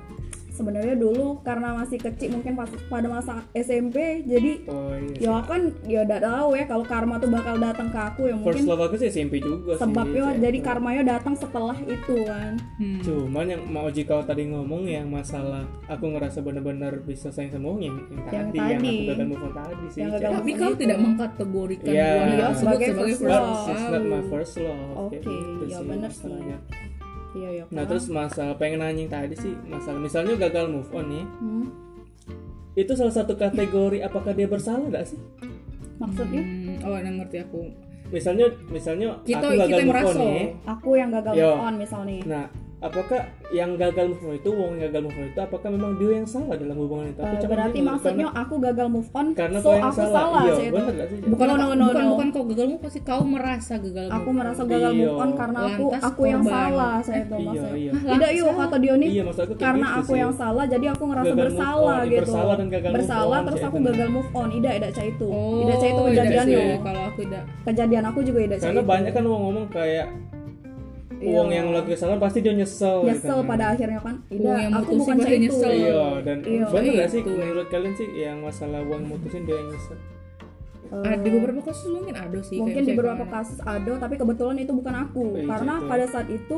[SPEAKER 3] sebenarnya dulu karena masih kecil mungkin pas pada masa SMP jadi
[SPEAKER 2] Oh iya.
[SPEAKER 3] ya kan ya udah tahu ya kalau karma tuh bakal datang ke aku ya
[SPEAKER 2] First
[SPEAKER 3] mungkin
[SPEAKER 2] love aku sih SMP juga sih.
[SPEAKER 3] sebabnya
[SPEAKER 2] Cek.
[SPEAKER 3] jadi karmanya datang setelah itu kan
[SPEAKER 1] Hmm.
[SPEAKER 2] Cuman yang mau Oji kau tadi ngomong yang masalah aku ngerasa bener-bener bisa sayang sama orang yang, yang,
[SPEAKER 3] Yang
[SPEAKER 2] tadi, yang
[SPEAKER 3] tadi.
[SPEAKER 2] aku gagal move on tadi sih.
[SPEAKER 3] Yang
[SPEAKER 2] Cek.
[SPEAKER 3] gagal
[SPEAKER 1] Tapi
[SPEAKER 3] Walaupun
[SPEAKER 1] kau
[SPEAKER 3] itu-
[SPEAKER 1] tidak mengkategorikan
[SPEAKER 2] Iya.
[SPEAKER 1] hubungan
[SPEAKER 2] Iya,
[SPEAKER 1] tersebut
[SPEAKER 3] gitu. sebagai
[SPEAKER 1] sebagai
[SPEAKER 3] first
[SPEAKER 1] first
[SPEAKER 3] love.
[SPEAKER 2] It's
[SPEAKER 1] love.
[SPEAKER 2] not my first love. Kayak
[SPEAKER 3] Oke,
[SPEAKER 2] gitu
[SPEAKER 3] ya bener sih.
[SPEAKER 2] masalahnya.
[SPEAKER 3] iya ya
[SPEAKER 2] Nah
[SPEAKER 3] kan?
[SPEAKER 2] terus masalah pengen nanya yang tadi sih masalah misalnya gagal move on nih
[SPEAKER 3] Hmm,
[SPEAKER 2] itu salah satu kategori apakah dia bersalah nggak sih?
[SPEAKER 3] maksudnya
[SPEAKER 1] Hmm, oh, nah ngerti aku.
[SPEAKER 2] Misalnya misalnya
[SPEAKER 1] Kita
[SPEAKER 2] aku gagal
[SPEAKER 1] kita
[SPEAKER 2] move on
[SPEAKER 1] merasa.
[SPEAKER 2] nih.
[SPEAKER 3] aku yang gagal
[SPEAKER 2] Yo.
[SPEAKER 3] move on misalnya
[SPEAKER 2] Iya. Nah apakah yang gagal move on itu wong yang gagal move on itu apakah memang dia yang salah dalam hubungan itu? Aku
[SPEAKER 3] Eh,
[SPEAKER 2] cuman
[SPEAKER 3] berarti
[SPEAKER 2] bingung,
[SPEAKER 3] maksudnya aku gagal move on
[SPEAKER 2] karena, karena
[SPEAKER 3] so
[SPEAKER 2] kau yang
[SPEAKER 3] aku
[SPEAKER 2] salah.
[SPEAKER 3] salah,
[SPEAKER 2] Iya
[SPEAKER 3] sih itu.
[SPEAKER 2] bener nggak sih?
[SPEAKER 1] Bukan
[SPEAKER 3] No, no,
[SPEAKER 1] kau-
[SPEAKER 3] no,
[SPEAKER 1] bukan,
[SPEAKER 3] no.
[SPEAKER 1] bukan kau gagalmu pasti kau merasa gagal.
[SPEAKER 3] aku
[SPEAKER 1] move on.
[SPEAKER 3] merasa gagal move on
[SPEAKER 2] Iya.
[SPEAKER 3] karena aku
[SPEAKER 1] Lantas
[SPEAKER 3] aku yang
[SPEAKER 1] korban.
[SPEAKER 3] salah saya itu
[SPEAKER 2] Iya
[SPEAKER 3] maksudnya
[SPEAKER 2] iya.
[SPEAKER 3] tidak yuk kata Dioni
[SPEAKER 2] Iya maksud aku kayak
[SPEAKER 3] karena
[SPEAKER 2] gitu
[SPEAKER 3] aku
[SPEAKER 2] sih.
[SPEAKER 3] yang salah jadi aku ngerasa
[SPEAKER 2] Gagal move
[SPEAKER 3] bersalah
[SPEAKER 2] on,
[SPEAKER 3] gitu
[SPEAKER 2] bersalah dan gagal move
[SPEAKER 3] Bersalah,
[SPEAKER 2] on,
[SPEAKER 3] terus
[SPEAKER 2] Cak,
[SPEAKER 3] aku
[SPEAKER 2] itu.
[SPEAKER 3] gagal move on tidak tidak cah itu
[SPEAKER 1] Oh,
[SPEAKER 3] tidak cah itu
[SPEAKER 1] tidak
[SPEAKER 3] kejadian
[SPEAKER 1] sih.
[SPEAKER 3] yo
[SPEAKER 1] Kalau aku tidak.
[SPEAKER 3] kejadian aku juga tidak cah
[SPEAKER 2] Karena
[SPEAKER 3] itu.
[SPEAKER 2] banyak kan uang ngomong kayak
[SPEAKER 3] Iya.
[SPEAKER 2] uang yang lagi salah pasti dia nyesel. gitu
[SPEAKER 3] nyesel
[SPEAKER 2] kan.
[SPEAKER 3] pada akhirnya kan
[SPEAKER 1] Uang
[SPEAKER 3] tidak
[SPEAKER 1] Oh, yang
[SPEAKER 3] aku
[SPEAKER 1] mutusin
[SPEAKER 3] bukan cah
[SPEAKER 1] pasti
[SPEAKER 3] itu
[SPEAKER 1] nyesel.
[SPEAKER 2] Iya dan
[SPEAKER 3] Iya,
[SPEAKER 2] bener nggak sih
[SPEAKER 1] itu.
[SPEAKER 2] menurut kalian sih yang masalah uang mutusin dia yang nyesel?
[SPEAKER 1] Ah, di beberapa kasus mungkin ada sih.
[SPEAKER 3] Eh,
[SPEAKER 1] kayak
[SPEAKER 3] mungkin di
[SPEAKER 1] misalnya
[SPEAKER 3] beberapa
[SPEAKER 1] kemarin.
[SPEAKER 3] kasus ada tapi kebetulan itu bukan aku
[SPEAKER 2] Iya,
[SPEAKER 3] karena
[SPEAKER 2] gitu.
[SPEAKER 3] pada saat itu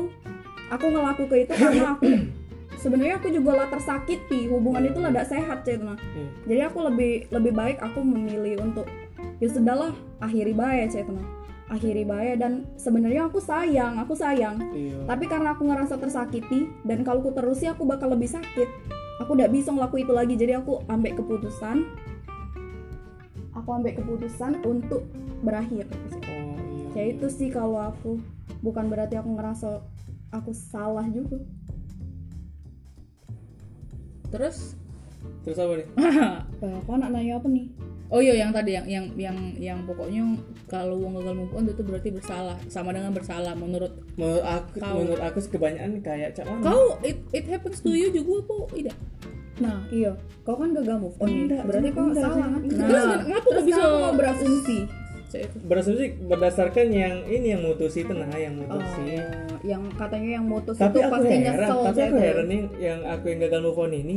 [SPEAKER 3] aku ngelaku ke itu karena aku sebenarnya aku juga lah tersakiti hubungan itu lah tidak sehat cina
[SPEAKER 2] Iya.
[SPEAKER 3] jadi aku lebih lebih baik aku memilih untuk ya sudahlah akhiri baik cina akhiri baik dan sebenarnya aku sayang aku sayang
[SPEAKER 2] Iya.
[SPEAKER 3] tapi karena aku ngerasa tersakiti dan kalau aku terusin aku bakal lebih sakit aku tidak bisa ngelaku itu lagi jadi aku ambek keputusan aku ambek keputusan untuk berakhir
[SPEAKER 2] Oh, iya.
[SPEAKER 3] ya itu sih kalau aku bukan berarti aku ngerasa aku salah juga
[SPEAKER 1] Terus
[SPEAKER 2] Terus apa nih?
[SPEAKER 3] Eh, aku anak nanya apa nih
[SPEAKER 1] Oh iya yang tadi yang yang yang yang pokoknya kalau uang gagal move on itu berarti bersalah sama dengan bersalah menurut
[SPEAKER 2] Menurut aku,
[SPEAKER 1] Kau.
[SPEAKER 2] menurut aku sih kebanyakan kayak cak mana?
[SPEAKER 1] kau it, it happens to you juga apa tidak?
[SPEAKER 3] nah iya kau kan gagal move on nih
[SPEAKER 2] Enggak,
[SPEAKER 3] berarti
[SPEAKER 2] Cina,
[SPEAKER 3] kau
[SPEAKER 2] enggak,
[SPEAKER 3] salah
[SPEAKER 2] Cina.
[SPEAKER 3] kan?
[SPEAKER 1] Terus kenapa kau
[SPEAKER 3] terus
[SPEAKER 1] bisa-
[SPEAKER 3] kenapa kau berasumsi
[SPEAKER 1] Saya itu.
[SPEAKER 2] Berasumsi berdasarkan yang ini yang mutusi itu nah yang mutusi.
[SPEAKER 3] Eh, yang katanya yang mutus
[SPEAKER 2] tapi
[SPEAKER 3] itu
[SPEAKER 2] aku
[SPEAKER 3] pasti
[SPEAKER 2] heran,
[SPEAKER 3] nyesel
[SPEAKER 2] tapi
[SPEAKER 3] saya
[SPEAKER 2] aku
[SPEAKER 3] tuh.
[SPEAKER 2] heran yang, yang aku yang gagal move on ini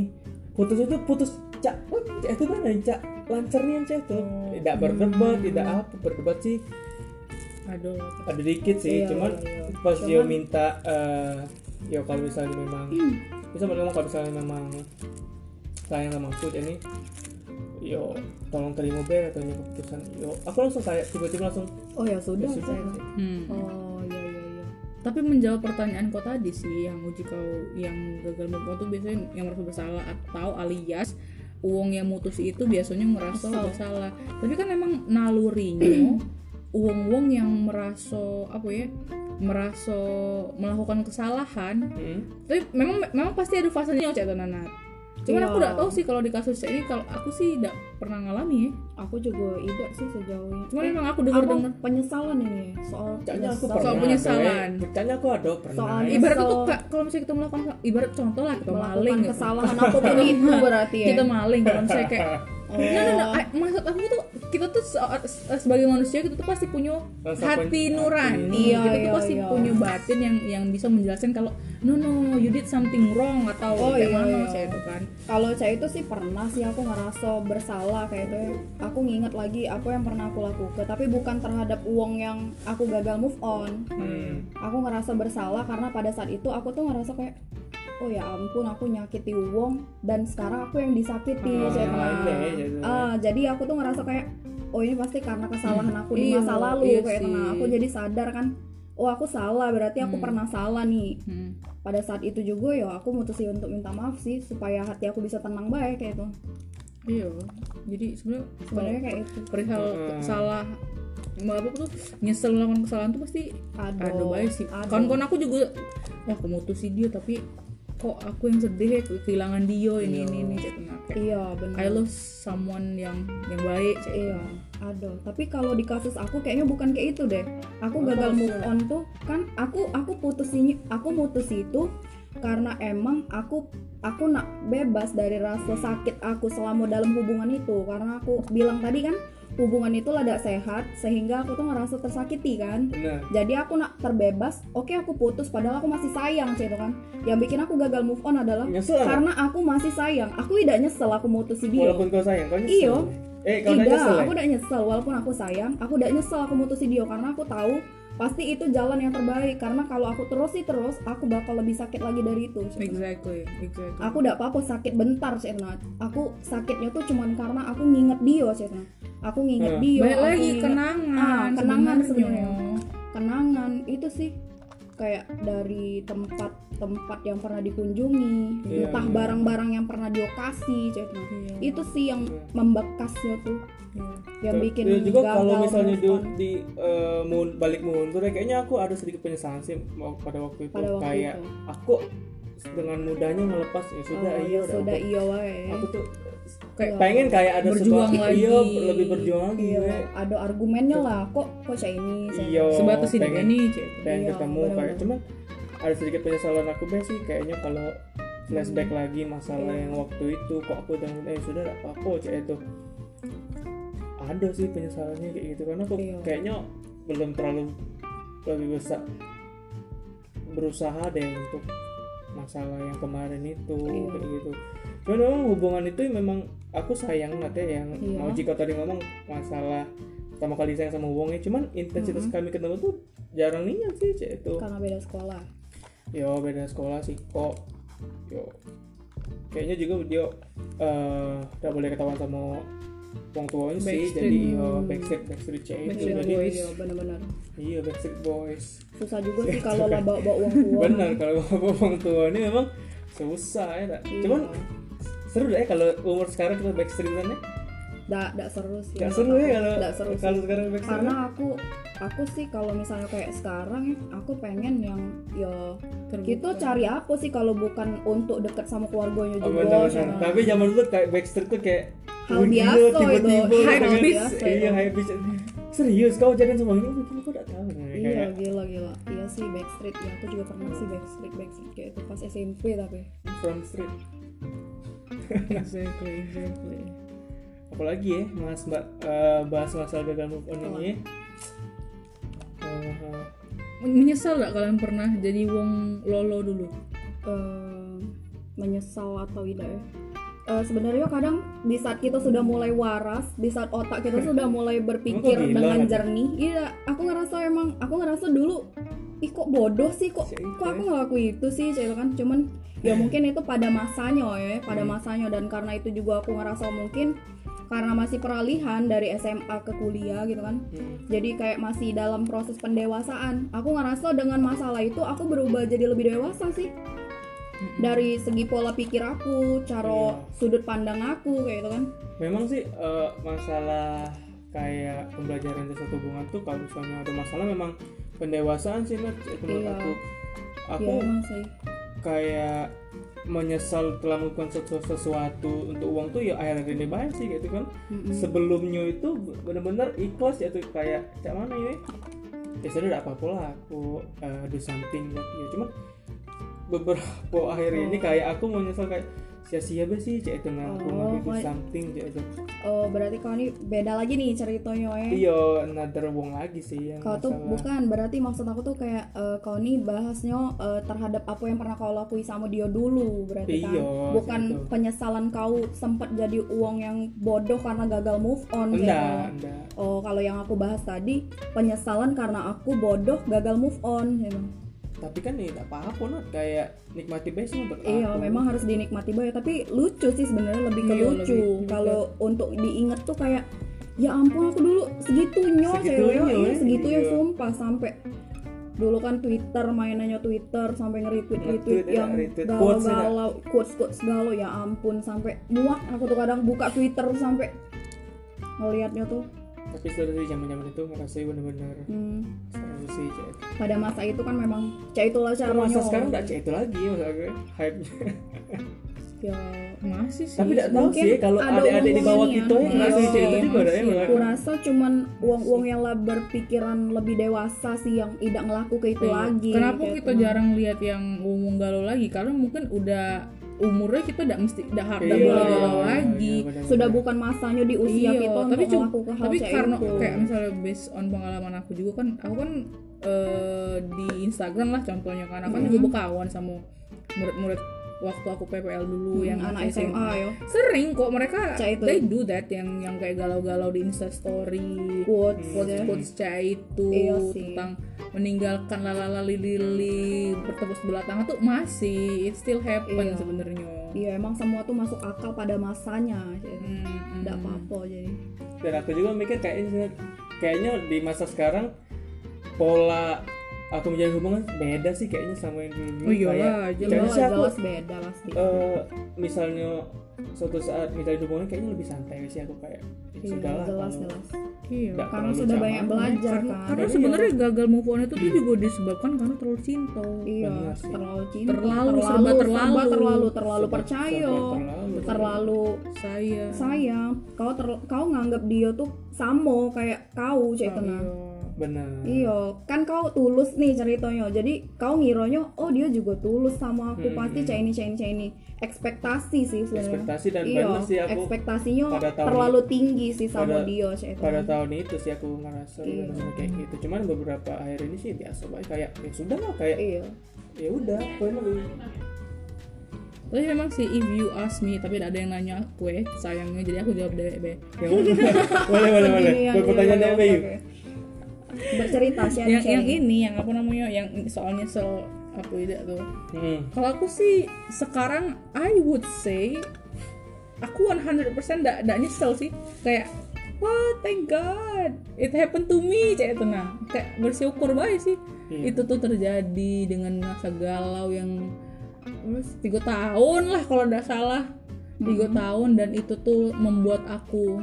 [SPEAKER 2] putus itu putus cak wah, cak itu mana cak lancar nih yang cak
[SPEAKER 3] Oh.
[SPEAKER 2] itu tidak berdebat tidak apa berdebat sih
[SPEAKER 1] Aduh.
[SPEAKER 2] ada dikit sih
[SPEAKER 3] Iya,
[SPEAKER 2] cuman
[SPEAKER 3] iya, iya.
[SPEAKER 2] pas dia
[SPEAKER 3] Cuman- Hmm.
[SPEAKER 2] minta eh ya kalau misalnya memang bisa ngomong kalau misalnya memang sayang sama aku jadi yo tolong terima ber atau ini keputusan yo aku langsung kayak tiba-tiba langsung
[SPEAKER 3] oh ya sudah
[SPEAKER 2] ya sudah
[SPEAKER 3] saya tuh.
[SPEAKER 2] sih.
[SPEAKER 1] Hmm.
[SPEAKER 3] oh iya iya iya
[SPEAKER 1] Tapi menjawab pertanyaan kau tadi sih yang uji kau yang gagal move on tuh biasanya yang merasa bersalah atau alias uang yang mutus itu biasanya merasa
[SPEAKER 3] Kesel.
[SPEAKER 1] bersalah. Tapi kan emang nalurinya uang-uang yang merasa apa ya? merasa melakukan kesalahan
[SPEAKER 2] Hmm.
[SPEAKER 1] tapi memang memang pasti ada fasenya cek nanat cuman aku
[SPEAKER 3] Iya.
[SPEAKER 1] nggak tahu sih kalau di kasus Cak ini kalau aku sih tidak pernah ngalami ya
[SPEAKER 3] aku juga tidak sih sejauh ini
[SPEAKER 1] cuman
[SPEAKER 3] Eh,
[SPEAKER 1] memang aku
[SPEAKER 3] apa
[SPEAKER 1] dengar dengar
[SPEAKER 3] penyesalan ini ya, soal
[SPEAKER 2] Caknya aku
[SPEAKER 3] nyesel.
[SPEAKER 2] pernah
[SPEAKER 1] Soal penyesalan.
[SPEAKER 2] Dewe. Caknya aku ada pernah
[SPEAKER 3] Soalnya
[SPEAKER 1] ibarat
[SPEAKER 3] kesel.
[SPEAKER 1] tuh Kak, kalau misalnya kita melakukan ibarat contoh lah kita maling
[SPEAKER 3] melakukan
[SPEAKER 1] gitu.
[SPEAKER 3] kesalahan apapun itu berarti ya
[SPEAKER 1] kita maling kalau misalnya kayak Nah,
[SPEAKER 3] Oh.
[SPEAKER 1] nah, nah, eh, maksud aku tuh kita tuh se- se- sebagai manusia kita tuh pasti punya
[SPEAKER 2] Rasa
[SPEAKER 1] hati
[SPEAKER 2] pen-
[SPEAKER 1] nurani,
[SPEAKER 3] Iya,
[SPEAKER 1] kita tuh
[SPEAKER 3] iya,
[SPEAKER 1] pasti
[SPEAKER 3] iya.
[SPEAKER 1] punya batin yang yang bisa menjelaskan kalau no no you did something wrong atau
[SPEAKER 3] Oh,
[SPEAKER 1] kayak
[SPEAKER 3] iya,
[SPEAKER 1] mana
[SPEAKER 3] iya.
[SPEAKER 1] saya itu kan.
[SPEAKER 3] kalau saya itu sih pernah sih aku ngerasa bersalah kayak itu ya. aku nginget lagi apa yang pernah aku lakukan tapi bukan terhadap uang yang aku gagal move on
[SPEAKER 2] Hmm.
[SPEAKER 3] aku ngerasa bersalah karena pada saat itu aku tuh ngerasa kayak oh ya ampun aku nyakiti uang dan sekarang aku yang disakiti
[SPEAKER 2] Oh,
[SPEAKER 3] saya
[SPEAKER 2] yang
[SPEAKER 3] bilang.
[SPEAKER 2] lain deh, gitu. jadi-
[SPEAKER 3] Ah, jadi aku tuh ngerasa kayak oh ini pasti karena kesalahan aku di
[SPEAKER 1] Iya,
[SPEAKER 3] masa lalu
[SPEAKER 1] iya
[SPEAKER 3] kayak itu. Nah,
[SPEAKER 1] sih.
[SPEAKER 3] aku jadi sadar kan oh aku salah berarti aku pernah salah nih
[SPEAKER 1] Hmm.
[SPEAKER 3] pada saat itu juga ya aku mutusin untuk minta maaf sih supaya hati aku bisa tenang baik kayak itu
[SPEAKER 1] Iya. Jadi sebenarnya
[SPEAKER 3] sebenarnya kayak gitu. itu
[SPEAKER 1] perihal
[SPEAKER 2] Hmm.
[SPEAKER 1] salah apa tuh nyesel melakukan kesalahan tuh pasti
[SPEAKER 3] aduh,
[SPEAKER 1] aduh baik sih
[SPEAKER 3] aduh.
[SPEAKER 1] kawan-kawan aku juga wah aku mutusin dia tapi kok aku yang sedih ya kehilangan dia ini ini ini Cak. Nah, kayak,
[SPEAKER 3] iya
[SPEAKER 1] I
[SPEAKER 3] benar
[SPEAKER 1] love someone yang yang baik Cak.
[SPEAKER 3] iya aduh tapi kalau di kasus aku kayaknya bukan kayak itu deh aku
[SPEAKER 2] Apa
[SPEAKER 3] gagal move
[SPEAKER 2] maksudnya?
[SPEAKER 3] on tuh kan aku aku putusin aku mutus itu karena emang aku aku nak bebas dari rasa sakit aku selama dalam hubungan itu karena aku bilang tadi kan hubungan itu lada sehat sehingga aku tuh ngerasa tersakiti kan
[SPEAKER 2] benar
[SPEAKER 3] jadi aku nak terbebas oke aku putus padahal aku masih sayang sih itu kan yang bikin aku gagal move on adalah
[SPEAKER 2] nyesel nggak?
[SPEAKER 3] karena aku masih sayang aku tidak nyesel aku mutusin dia
[SPEAKER 2] walaupun kau sayang kau nyesel
[SPEAKER 3] Iya. Iyo.
[SPEAKER 2] eh kau nggak
[SPEAKER 3] tidak
[SPEAKER 2] nyesel ya?
[SPEAKER 3] aku tidak nyesel walaupun aku sayang aku tidak nyesel aku mutusin dia karena aku tahu pasti itu jalan yang terbaik karena kalau aku terus sih terus aku bakal lebih sakit lagi dari itu Cik.
[SPEAKER 1] Exactly, exactly.
[SPEAKER 3] aku tidak apa-apa sakit bentar Cetna aku sakitnya tuh cuman karena aku nginget dia Cetna aku nginget
[SPEAKER 2] Hmm.
[SPEAKER 3] dia
[SPEAKER 1] Balik
[SPEAKER 3] iya, aku
[SPEAKER 1] lagi
[SPEAKER 3] nginget
[SPEAKER 1] kenangan,
[SPEAKER 3] Ah, kenangan sebenarnya.
[SPEAKER 1] sebenarnya.
[SPEAKER 3] kenangan itu sih kayak dari tempat-tempat yang pernah dikunjungi
[SPEAKER 2] Iya,
[SPEAKER 3] entah
[SPEAKER 2] iya.
[SPEAKER 3] barang-barang yang pernah dia kasih Cetna
[SPEAKER 1] Iya.
[SPEAKER 3] itu sih yang
[SPEAKER 2] Iya.
[SPEAKER 3] membekasnya tuh
[SPEAKER 1] Iya.
[SPEAKER 3] yang
[SPEAKER 2] Tuh.
[SPEAKER 3] bikin
[SPEAKER 2] Dan juga
[SPEAKER 3] gagal
[SPEAKER 2] kalau misalnya di,
[SPEAKER 3] move on.
[SPEAKER 2] di eh, mun- balik mundur ya, kayaknya aku ada sedikit penyesalan sih mau- pada waktu itu
[SPEAKER 3] pada waktu
[SPEAKER 2] kayak
[SPEAKER 3] itu
[SPEAKER 2] aku dengan mudahnya melepas ya sudah
[SPEAKER 3] Oh,
[SPEAKER 2] iya
[SPEAKER 3] ya
[SPEAKER 2] udah,
[SPEAKER 3] sudah
[SPEAKER 2] aku-
[SPEAKER 3] iya wae
[SPEAKER 2] aku tuh
[SPEAKER 1] Kayak
[SPEAKER 3] Iya.
[SPEAKER 2] pengen kayak ada
[SPEAKER 1] Berjuang
[SPEAKER 2] sebuah
[SPEAKER 1] lagi.
[SPEAKER 2] iya lebih berjuang lagi
[SPEAKER 3] iya
[SPEAKER 2] iya,
[SPEAKER 3] ada argumennya lah kok kok saya ini saya
[SPEAKER 2] iya
[SPEAKER 1] Sebatas hidup
[SPEAKER 2] pengen-
[SPEAKER 1] ini, Cek.
[SPEAKER 2] pengen
[SPEAKER 3] Iya,
[SPEAKER 2] ketemu kayak
[SPEAKER 3] benar-benar.
[SPEAKER 2] cuman ada sedikit penyesalan aku Be, sih kayaknya kalau flashback lagi masalah
[SPEAKER 3] Iya.
[SPEAKER 2] yang waktu itu kok aku dengan eh sudah gak apa-apa cek itu ada sih penyesalannya kayak gitu karena aku
[SPEAKER 3] Iya.
[SPEAKER 2] kayaknya belum terlalu lebih besar berusaha deh untuk masalah yang kemarin itu
[SPEAKER 3] Iya.
[SPEAKER 2] kayak gitu cuman memang hubungan itu memang aku sayang banget ya yang
[SPEAKER 3] Iya.
[SPEAKER 2] mau jika tadi ngomong masalah pertama kali sayang sama hubungannya cuman intensitas kami ketemu tuh jarang nih sih cek itu
[SPEAKER 3] karena beda sekolah
[SPEAKER 2] yo beda sekolah sih kok yo kayaknya juga dia eh udah boleh ketahuan sama orang tuanya sih
[SPEAKER 1] Backstreet.
[SPEAKER 2] jadi yo backstreet backstreet cek itu
[SPEAKER 1] Backstreet
[SPEAKER 3] iya
[SPEAKER 2] jadi
[SPEAKER 1] Boys.
[SPEAKER 3] iya benar-benar
[SPEAKER 2] iya backstreet boys
[SPEAKER 3] susah juga sih kalau lah bawa bawa uang tua
[SPEAKER 2] Iya, benar kalau orang tuanya memang susah ya tak?
[SPEAKER 3] Iya.
[SPEAKER 2] cuman seru dah ya kalau umur sekarang kita backstreetan ya
[SPEAKER 3] Nggak- nggak seru sih
[SPEAKER 2] nggak seru ya kalau
[SPEAKER 3] Iya, Nggak seru sih
[SPEAKER 2] kalau sekarang backstreet
[SPEAKER 3] karena aku aku sih kalau misalnya kayak sekarang aku pengen yang ya
[SPEAKER 1] Terbuka.
[SPEAKER 3] gitu cari apa sih kalau bukan untuk deket sama keluarganya
[SPEAKER 2] Oh,
[SPEAKER 3] juga
[SPEAKER 2] benar, benar.
[SPEAKER 3] Cina.
[SPEAKER 2] Tapi zaman dulu kayak Backstreet tuh kayak
[SPEAKER 3] Hal
[SPEAKER 2] wih,
[SPEAKER 3] biasa
[SPEAKER 2] gila,
[SPEAKER 3] itu.
[SPEAKER 2] tiba-tiba gitu
[SPEAKER 1] Hype
[SPEAKER 2] kan.
[SPEAKER 1] beast.
[SPEAKER 2] Iya, hype beast. Serius kau jadian sama ini? Mungkin aku gak tahu. Kayak-
[SPEAKER 3] Iya gila gila Iya sih backstreet ya Aku juga pernah sih backstreet backstreet kayak itu pas SMP tapi
[SPEAKER 2] From Street.
[SPEAKER 1] Exactly, exactly.
[SPEAKER 2] Apalagi ya, Mas Mbak eh, bahas masalah gagal move on ini. ya. Eh, eh,
[SPEAKER 1] Menyesal gak kalian pernah jadi wong lolo dulu?
[SPEAKER 3] eh, menyesal atau tidak ya Eh, sebenarnya kadang di saat kita sudah mulai waras di saat otak kita sudah mulai berpikir
[SPEAKER 2] Emang kok gila
[SPEAKER 3] dengan
[SPEAKER 2] lagi?
[SPEAKER 3] jernih iya aku ngerasa emang aku ngerasa dulu ih kok bodoh sih kok
[SPEAKER 2] Cek itu
[SPEAKER 3] kok aku ngelakuin itu sih cek kan cuman ya mungkin itu pada masanya ya pada masanya dan karena itu juga aku ngerasa mungkin karena masih peralihan dari SMA ke kuliah gitu kan
[SPEAKER 2] hmm.
[SPEAKER 3] jadi kayak masih dalam proses pendewasaan aku ngerasa dengan masalah itu aku berubah jadi lebih dewasa sih dari segi pola pikir aku cara
[SPEAKER 2] Iya.
[SPEAKER 3] sudut pandang aku kayak gitu kan
[SPEAKER 2] Memang sih eh, masalah kayak pembelajaran dari satu hubungan tuh kalau misalnya ada masalah memang pendewasaan sih Nat, itu menurut
[SPEAKER 3] Iya.
[SPEAKER 2] aku. Aku
[SPEAKER 3] Iya emang sih
[SPEAKER 2] kayak menyesal telah melakukan sesu- sesuatu untuk uang tuh ya akhirnya gede banget sih gitu kan
[SPEAKER 3] Mm-mm.
[SPEAKER 2] sebelumnya itu bener-bener ikhlas ya tuh kayak cak mana ya ya sudah tidak apa-apa lah aku eh, do something buat dia cuma beberapa akhir ini kayak aku menyesal kayak sia-sia be sih cak itu nah, aku
[SPEAKER 3] Oh,
[SPEAKER 2] nggak do
[SPEAKER 3] kayak-
[SPEAKER 2] something cak itu
[SPEAKER 3] oh berarti kau ini beda lagi nih ceritanya ya
[SPEAKER 2] iya another uang lagi sih yang
[SPEAKER 3] kau tuh
[SPEAKER 2] masalah.
[SPEAKER 3] bukan berarti maksud aku tuh kayak eh, kau nih bahasnya eh, terhadap apa yang pernah kau lakui sama dia dulu berarti kan
[SPEAKER 2] Iya,
[SPEAKER 3] bukan
[SPEAKER 2] gitu.
[SPEAKER 3] penyesalan kau sempat jadi uang yang bodoh karena gagal move on kayak
[SPEAKER 2] enggak
[SPEAKER 3] gitu.
[SPEAKER 2] enggak
[SPEAKER 3] Oh, kalau yang aku bahas tadi, penyesalan karena aku bodoh gagal move on. gitu.
[SPEAKER 2] tapi kan ya tidak apa-apa Nat. kayak nikmati base untuk
[SPEAKER 3] Iya,
[SPEAKER 2] aku.
[SPEAKER 3] memang harus dinikmati banget, tapi lucu sih sebenarnya lebih ke
[SPEAKER 1] Iya,
[SPEAKER 3] lucu.
[SPEAKER 1] lebih- lebih
[SPEAKER 3] Kalau untuk diinget tuh kayak ya ampun aku dulu segitunya
[SPEAKER 2] Segitunya,
[SPEAKER 3] cewek, iya,
[SPEAKER 2] ya.
[SPEAKER 3] segitunya
[SPEAKER 2] Iya.
[SPEAKER 3] sumpah sampai dulu kan Twitter mainannya Twitter sampai nge-retweet iya, retweet
[SPEAKER 2] Nge-tweet, ya,
[SPEAKER 3] yang
[SPEAKER 2] retweet. Quotes, ya, Kak?
[SPEAKER 3] galau-galau quotes iya. quotes galau ya ampun sampai muak aku tuh kadang buka Twitter sampai ngelihatnya tuh
[SPEAKER 2] tapi setelah dari zaman zaman itu ngerasa bener-bener
[SPEAKER 3] Hmm,
[SPEAKER 2] seru sih cek
[SPEAKER 3] pada masa itu kan memang cek itulah caranya.
[SPEAKER 2] masa sekarang nggak cek itu lagi masa gue hype
[SPEAKER 3] Ya,
[SPEAKER 1] masih sih
[SPEAKER 2] tapi nggak tahu
[SPEAKER 3] Mungkin
[SPEAKER 2] sih kalau
[SPEAKER 3] ada
[SPEAKER 2] adik-adik di bawah
[SPEAKER 3] hubungannya.
[SPEAKER 2] kita yang ngerasa
[SPEAKER 1] Iya,
[SPEAKER 2] cek itu juga ada
[SPEAKER 1] masih.
[SPEAKER 2] yang nggak-
[SPEAKER 3] aku rasa cuman uang-uang yang lah berpikiran lebih dewasa sih yang tidak ngelaku ke itu
[SPEAKER 1] Iya.
[SPEAKER 3] lagi.
[SPEAKER 1] Kenapa
[SPEAKER 3] kayak
[SPEAKER 1] kita
[SPEAKER 3] gitu.
[SPEAKER 1] jarang lihat yang umum galau lagi? Karena mungkin udah umurnya kita udah mesti udah harus
[SPEAKER 2] Iya,
[SPEAKER 1] boleh
[SPEAKER 2] iya,
[SPEAKER 1] galau
[SPEAKER 2] iya,
[SPEAKER 1] lagi.
[SPEAKER 2] benar-benar.
[SPEAKER 3] sudah bukan masanya di
[SPEAKER 1] Iya,
[SPEAKER 3] usia kita
[SPEAKER 1] tapi
[SPEAKER 3] untuk
[SPEAKER 1] cuma-
[SPEAKER 3] melakukan hal
[SPEAKER 1] Tapi
[SPEAKER 3] kayak gitu.
[SPEAKER 1] karena
[SPEAKER 3] itu.
[SPEAKER 1] kayak misalnya based on pengalaman aku juga kan, aku kan eh, di Instagram lah contohnya kan, aku kan
[SPEAKER 3] Mhm.
[SPEAKER 1] juga berkawan sama murid-murid waktu aku PPL dulu
[SPEAKER 3] Hmm,
[SPEAKER 1] yang
[SPEAKER 3] anak
[SPEAKER 1] aku
[SPEAKER 3] SMA ya
[SPEAKER 1] Sering kok mereka
[SPEAKER 3] Cah itu.
[SPEAKER 1] they do that yang yang kayak galau-galau di Insta story.
[SPEAKER 3] quotes
[SPEAKER 2] Hmm.
[SPEAKER 3] ya.
[SPEAKER 1] quotes-quotes Ca itu
[SPEAKER 3] Iya sih.
[SPEAKER 1] tentang meninggalkan lalala lili bertemu sebelah tangan tuh masih it still happen
[SPEAKER 3] Iya.
[SPEAKER 1] sebenarnya.
[SPEAKER 3] Iya emang semua tuh masuk akal pada masanya. Jadi
[SPEAKER 1] Hmm, hmm.
[SPEAKER 3] tidak apa-apa jadi.
[SPEAKER 2] dan aku juga mikir kayaknya kayaknya di masa sekarang pola aku menjalin hubungan beda sih kayaknya sama yang dulu
[SPEAKER 1] Oh iyalah,
[SPEAKER 2] Kayak-
[SPEAKER 1] jelas.
[SPEAKER 2] kayaknya sih
[SPEAKER 3] Jelas,
[SPEAKER 2] aku
[SPEAKER 3] jelas beda pasti.
[SPEAKER 2] eh, misalnya suatu saat menjalin hubungan kayaknya lebih santai sih aku kayak ya
[SPEAKER 3] Iya,
[SPEAKER 2] sudah lah
[SPEAKER 3] jelas
[SPEAKER 2] kalau-
[SPEAKER 3] jelas.
[SPEAKER 1] Iya.
[SPEAKER 2] Nggak
[SPEAKER 3] Karena
[SPEAKER 2] terlalu
[SPEAKER 3] sudah
[SPEAKER 2] zaman.
[SPEAKER 3] banyak belajar
[SPEAKER 1] karena,
[SPEAKER 3] kan.
[SPEAKER 1] karena
[SPEAKER 2] Iya.
[SPEAKER 1] sebenarnya gagal move on itu tuh juga disebabkan karena terlalu cinta.
[SPEAKER 3] Iya,
[SPEAKER 2] Benar sih.
[SPEAKER 3] terlalu cinta,
[SPEAKER 1] Terlalu, serba terlalu.
[SPEAKER 3] serba terlalu, terlalu
[SPEAKER 2] Serba-
[SPEAKER 3] percaya,
[SPEAKER 2] serba terlalu.
[SPEAKER 3] terlalu
[SPEAKER 1] Saya.
[SPEAKER 3] sayang. Kau ter- kau nganggap dia tuh sama kayak
[SPEAKER 1] Iya.
[SPEAKER 3] kau cek ya, tenang.
[SPEAKER 2] Hmm. benar
[SPEAKER 3] Iya, kan kau tulus nih ceritanya. Jadi kau ngironyo, oh dia juga tulus sama aku
[SPEAKER 2] Hmm,
[SPEAKER 3] pasti
[SPEAKER 2] hmm.
[SPEAKER 3] cah ini cah ini cah ini. Ekspektasi sih sebenarnya.
[SPEAKER 2] ekspektasi dan
[SPEAKER 3] Iya,
[SPEAKER 2] benar sih aku
[SPEAKER 3] ekspektasinya
[SPEAKER 2] pada tahun-
[SPEAKER 3] terlalu tinggi sih sama
[SPEAKER 2] pada-
[SPEAKER 3] dia cah itu.
[SPEAKER 2] pada tahun itu sih aku ngerasa
[SPEAKER 3] Hmm. Iya.
[SPEAKER 2] benar-benar kayak gitu cuman beberapa akhir ini sih biasa baik kayak ya sudah lah kayak
[SPEAKER 3] Iya.
[SPEAKER 2] ya udah poin lebih
[SPEAKER 1] Tapi memang sih if you ask me tapi ada yang nanya aku eh sayangnya jadi aku jawab deh be.
[SPEAKER 2] Yang mana? Ya boleh boleh boleh
[SPEAKER 3] Begini yang
[SPEAKER 2] buat
[SPEAKER 3] dia
[SPEAKER 2] pertanyaan
[SPEAKER 3] jawab,
[SPEAKER 2] apa yuk
[SPEAKER 3] oke. Bercerita sharing.
[SPEAKER 1] Yang yang ini yang apa namanya yang soalnya so apa itu tuh.
[SPEAKER 2] hmm.
[SPEAKER 1] Kalau aku sih sekarang I would say aku 100% ndak ndak nyesel sih. Kayak wah thank god it happened to me kayak itu nah. Kayak bersyukur banget sih.
[SPEAKER 2] Iya.
[SPEAKER 1] Itu tuh terjadi dengan masa galau yang eh, tiga tahun lah kalau ndak salah. Tiga
[SPEAKER 3] Hmm.
[SPEAKER 1] tahun dan itu tuh membuat aku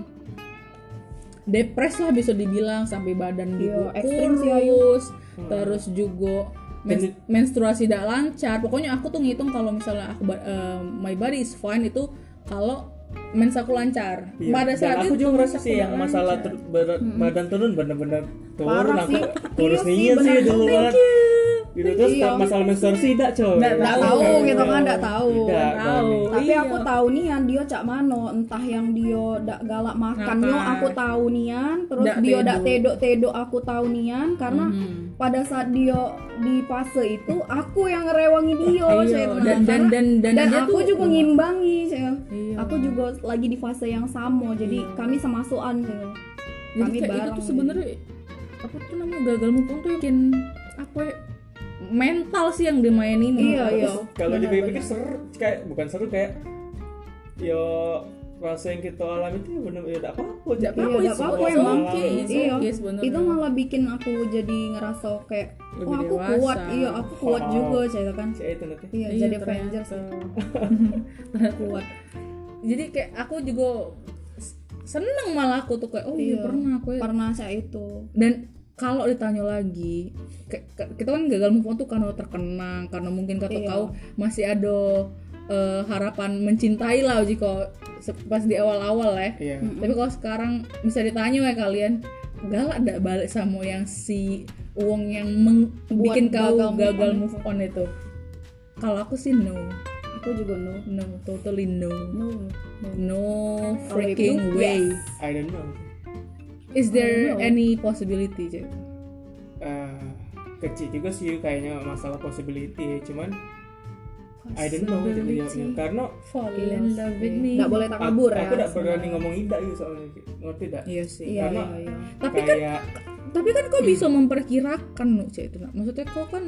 [SPEAKER 1] depres lah bisa dibilang sampai badan
[SPEAKER 3] Iya,
[SPEAKER 1] gitu
[SPEAKER 3] ekstrim sih, Ayu.
[SPEAKER 1] kurus
[SPEAKER 2] Hmm.
[SPEAKER 1] terus juga men-
[SPEAKER 2] Jadi-
[SPEAKER 1] menstruasi tidak lancar pokoknya aku tuh ngitung kalau misalnya aku ba- eh, my body is fine itu kalau mens aku lancar
[SPEAKER 2] Iya.
[SPEAKER 1] pada saat
[SPEAKER 2] Dan aku
[SPEAKER 1] itu
[SPEAKER 2] juga ngerasa
[SPEAKER 1] mens aku
[SPEAKER 2] sih yang
[SPEAKER 1] nggak
[SPEAKER 2] masalah
[SPEAKER 1] lancar.
[SPEAKER 2] ter- berat badan turun bener-bener turun
[SPEAKER 3] Hmm. Parah
[SPEAKER 2] aku
[SPEAKER 3] sih.
[SPEAKER 2] kurus
[SPEAKER 3] Iya sih,
[SPEAKER 2] dingin sih
[SPEAKER 3] bener.
[SPEAKER 2] dulu
[SPEAKER 3] Thank
[SPEAKER 2] banget gitu terus
[SPEAKER 3] Iya.
[SPEAKER 2] masalah menstruasi tidak coy
[SPEAKER 1] Nggak
[SPEAKER 3] Nggak
[SPEAKER 1] tahu,
[SPEAKER 3] tahu gitu kan,
[SPEAKER 1] iya.
[SPEAKER 3] nggak tahu.
[SPEAKER 2] Tidak.
[SPEAKER 1] Nggak tahu
[SPEAKER 3] Tapi
[SPEAKER 1] Iya.
[SPEAKER 3] aku tahu nian dia cak mano, entah yang dia dak galak makan yo
[SPEAKER 1] Makan.
[SPEAKER 3] aku tahu nian, terus
[SPEAKER 1] Dak
[SPEAKER 3] dia dak
[SPEAKER 1] tedok.
[SPEAKER 3] tedok tedok aku tahu nian karena
[SPEAKER 1] Mhm.
[SPEAKER 3] pada saat dia di fase itu aku yang ngerewangi dia
[SPEAKER 1] Iya,
[SPEAKER 3] saya tenang.
[SPEAKER 1] dan dan dan dan,
[SPEAKER 3] Karena- dan
[SPEAKER 1] dia
[SPEAKER 3] aku
[SPEAKER 1] tuh-
[SPEAKER 3] juga ngimbangi saya
[SPEAKER 1] Iya.
[SPEAKER 3] aku juga lagi di fase yang sama jadi
[SPEAKER 1] Iya.
[SPEAKER 3] kami semasukan saya
[SPEAKER 1] Jadi
[SPEAKER 3] kami
[SPEAKER 1] kayak itu
[SPEAKER 3] bareng,
[SPEAKER 1] tuh
[SPEAKER 3] gitu.
[SPEAKER 1] sebenarnya apa tuh namanya gagal move on tuh bikin apa ya, mental sih yang dimainin
[SPEAKER 3] Iya,
[SPEAKER 1] menurut
[SPEAKER 3] iya.
[SPEAKER 1] aku. Oh,
[SPEAKER 2] kalau
[SPEAKER 1] Benar,
[SPEAKER 2] dipikir-pikir
[SPEAKER 1] benar.
[SPEAKER 2] seru kayak bukan seru kayak yo rasa yang kita alami itu ya bener ya tidak apa-apa
[SPEAKER 1] Nggak
[SPEAKER 3] Iya,
[SPEAKER 1] apa-apa,
[SPEAKER 3] nggak
[SPEAKER 1] it's
[SPEAKER 3] apa-apa,
[SPEAKER 1] it's
[SPEAKER 3] emang.
[SPEAKER 1] okay, it's
[SPEAKER 3] Iya.
[SPEAKER 1] okay sebenarnya.
[SPEAKER 3] itu malah bikin aku jadi ngerasa kayak
[SPEAKER 1] Lebih
[SPEAKER 3] wah aku
[SPEAKER 1] dewasa.
[SPEAKER 3] kuat iya aku kuat
[SPEAKER 2] Wow.
[SPEAKER 3] juga saya kan
[SPEAKER 2] Cek itu nanti
[SPEAKER 3] iya,
[SPEAKER 1] Iya,
[SPEAKER 3] jadi
[SPEAKER 1] ternyata.
[SPEAKER 3] Avengers kuat
[SPEAKER 1] jadi kayak aku juga s- seneng malah aku tuh kayak oh iya
[SPEAKER 3] Iya.
[SPEAKER 1] pernah aku ya.
[SPEAKER 3] pernah saya itu
[SPEAKER 1] dan kalau ditanya lagi ke- ke- kita kan gagal move on tuh karena terkenang karena mungkin kata
[SPEAKER 3] Iya.
[SPEAKER 1] kau masih ada eh, harapan mencintai lah jika se- pas di awal-awal ya
[SPEAKER 2] iya
[SPEAKER 1] tapi kalau sekarang bisa ditanya ya kalian galak gak balik sama yang si uang yang meng-
[SPEAKER 3] Buat
[SPEAKER 1] bikin kau
[SPEAKER 3] gagal
[SPEAKER 1] gagal,
[SPEAKER 3] move
[SPEAKER 1] move on
[SPEAKER 3] on.
[SPEAKER 1] itu kalau aku sih no
[SPEAKER 3] aku juga no
[SPEAKER 1] no totally no
[SPEAKER 3] no no
[SPEAKER 1] no
[SPEAKER 3] Kalau
[SPEAKER 1] freaking
[SPEAKER 3] itu,
[SPEAKER 1] way
[SPEAKER 3] yes.
[SPEAKER 2] I don't know
[SPEAKER 1] is there
[SPEAKER 3] No.
[SPEAKER 1] any possibility Cek?
[SPEAKER 2] Eh, kecil juga sih kayaknya masalah possibility ya. cuman I don't know gitu jawabnya
[SPEAKER 1] Possibility.
[SPEAKER 2] karena
[SPEAKER 1] fall
[SPEAKER 3] Iya
[SPEAKER 1] in love with me
[SPEAKER 3] nggak boleh tak kabur ya
[SPEAKER 2] aku tidak berani ngomong tidak gitu soalnya Ki. ngerti tidak
[SPEAKER 1] iya sih
[SPEAKER 3] iya
[SPEAKER 2] karena-
[SPEAKER 3] iya iya
[SPEAKER 1] tapi kan
[SPEAKER 2] kayak
[SPEAKER 1] tapi kan kau bisa memperkirakan no Cek, itu Nak. maksudnya kau kan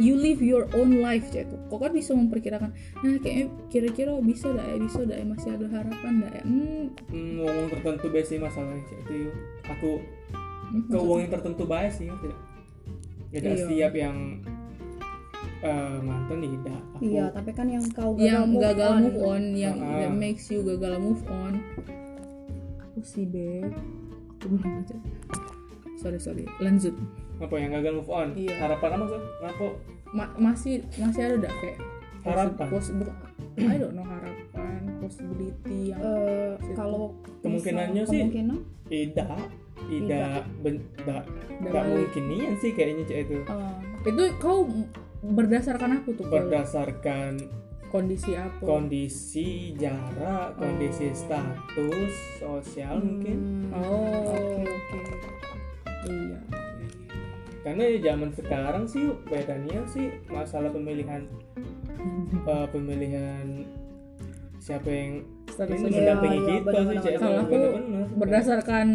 [SPEAKER 1] you live your own life Cek, itu kau kan bisa memperkirakan nah kayaknya kira-kira bisa dah ya bisa dah ya masih ada harapan dah ya hmm,
[SPEAKER 2] mm, ngomong tertentu biasa sih masalahnya Ki. itu yuk. aku ke
[SPEAKER 1] maksud-
[SPEAKER 2] uang yang tertentu bias sih ngerti tidak tidak
[SPEAKER 1] Iya.
[SPEAKER 2] setiap yang eh, mantan nih tidak aku
[SPEAKER 3] Iya, tapi kan yang kau gagal
[SPEAKER 1] yang
[SPEAKER 3] move
[SPEAKER 1] gagal
[SPEAKER 3] on.
[SPEAKER 1] move on yang
[SPEAKER 2] Ah.
[SPEAKER 1] that makes you gagal move on aku sih beb aku belum baca sorry sorry lanjut
[SPEAKER 2] apa yang gagal move on
[SPEAKER 1] Iya.
[SPEAKER 2] harapan apa sih ngapa
[SPEAKER 1] Ma- masih masih ada dak kayak
[SPEAKER 2] Harapan.
[SPEAKER 1] pos, pos- bu- I don't know harapan possibility yang
[SPEAKER 3] Eh, kalau
[SPEAKER 2] Kemungkinannya sih-
[SPEAKER 3] kemungkinan
[SPEAKER 2] tidak tidak ben- tidak
[SPEAKER 1] Tidak
[SPEAKER 2] tidak
[SPEAKER 1] balik.
[SPEAKER 2] mungkin nian sih kayaknya cek itu
[SPEAKER 3] eh,
[SPEAKER 1] itu kau berdasarkan aku tuh Kau
[SPEAKER 2] berdasarkan
[SPEAKER 1] kondisi apa
[SPEAKER 2] kondisi jarak kondisi status sosial mungkin
[SPEAKER 3] hmm,
[SPEAKER 1] oh
[SPEAKER 3] oke oke
[SPEAKER 1] iya
[SPEAKER 2] karena ya zaman sekarang sih bedanya sih masalah pemilihan eh, pemilihan siapa yang
[SPEAKER 1] Status
[SPEAKER 2] ini
[SPEAKER 1] sosial.
[SPEAKER 2] mendampingi
[SPEAKER 3] Iya, iya,
[SPEAKER 2] kita sih
[SPEAKER 3] benar-benar.
[SPEAKER 2] cek
[SPEAKER 1] gitu Kalau aku
[SPEAKER 2] Benar-benar.
[SPEAKER 1] berdasarkan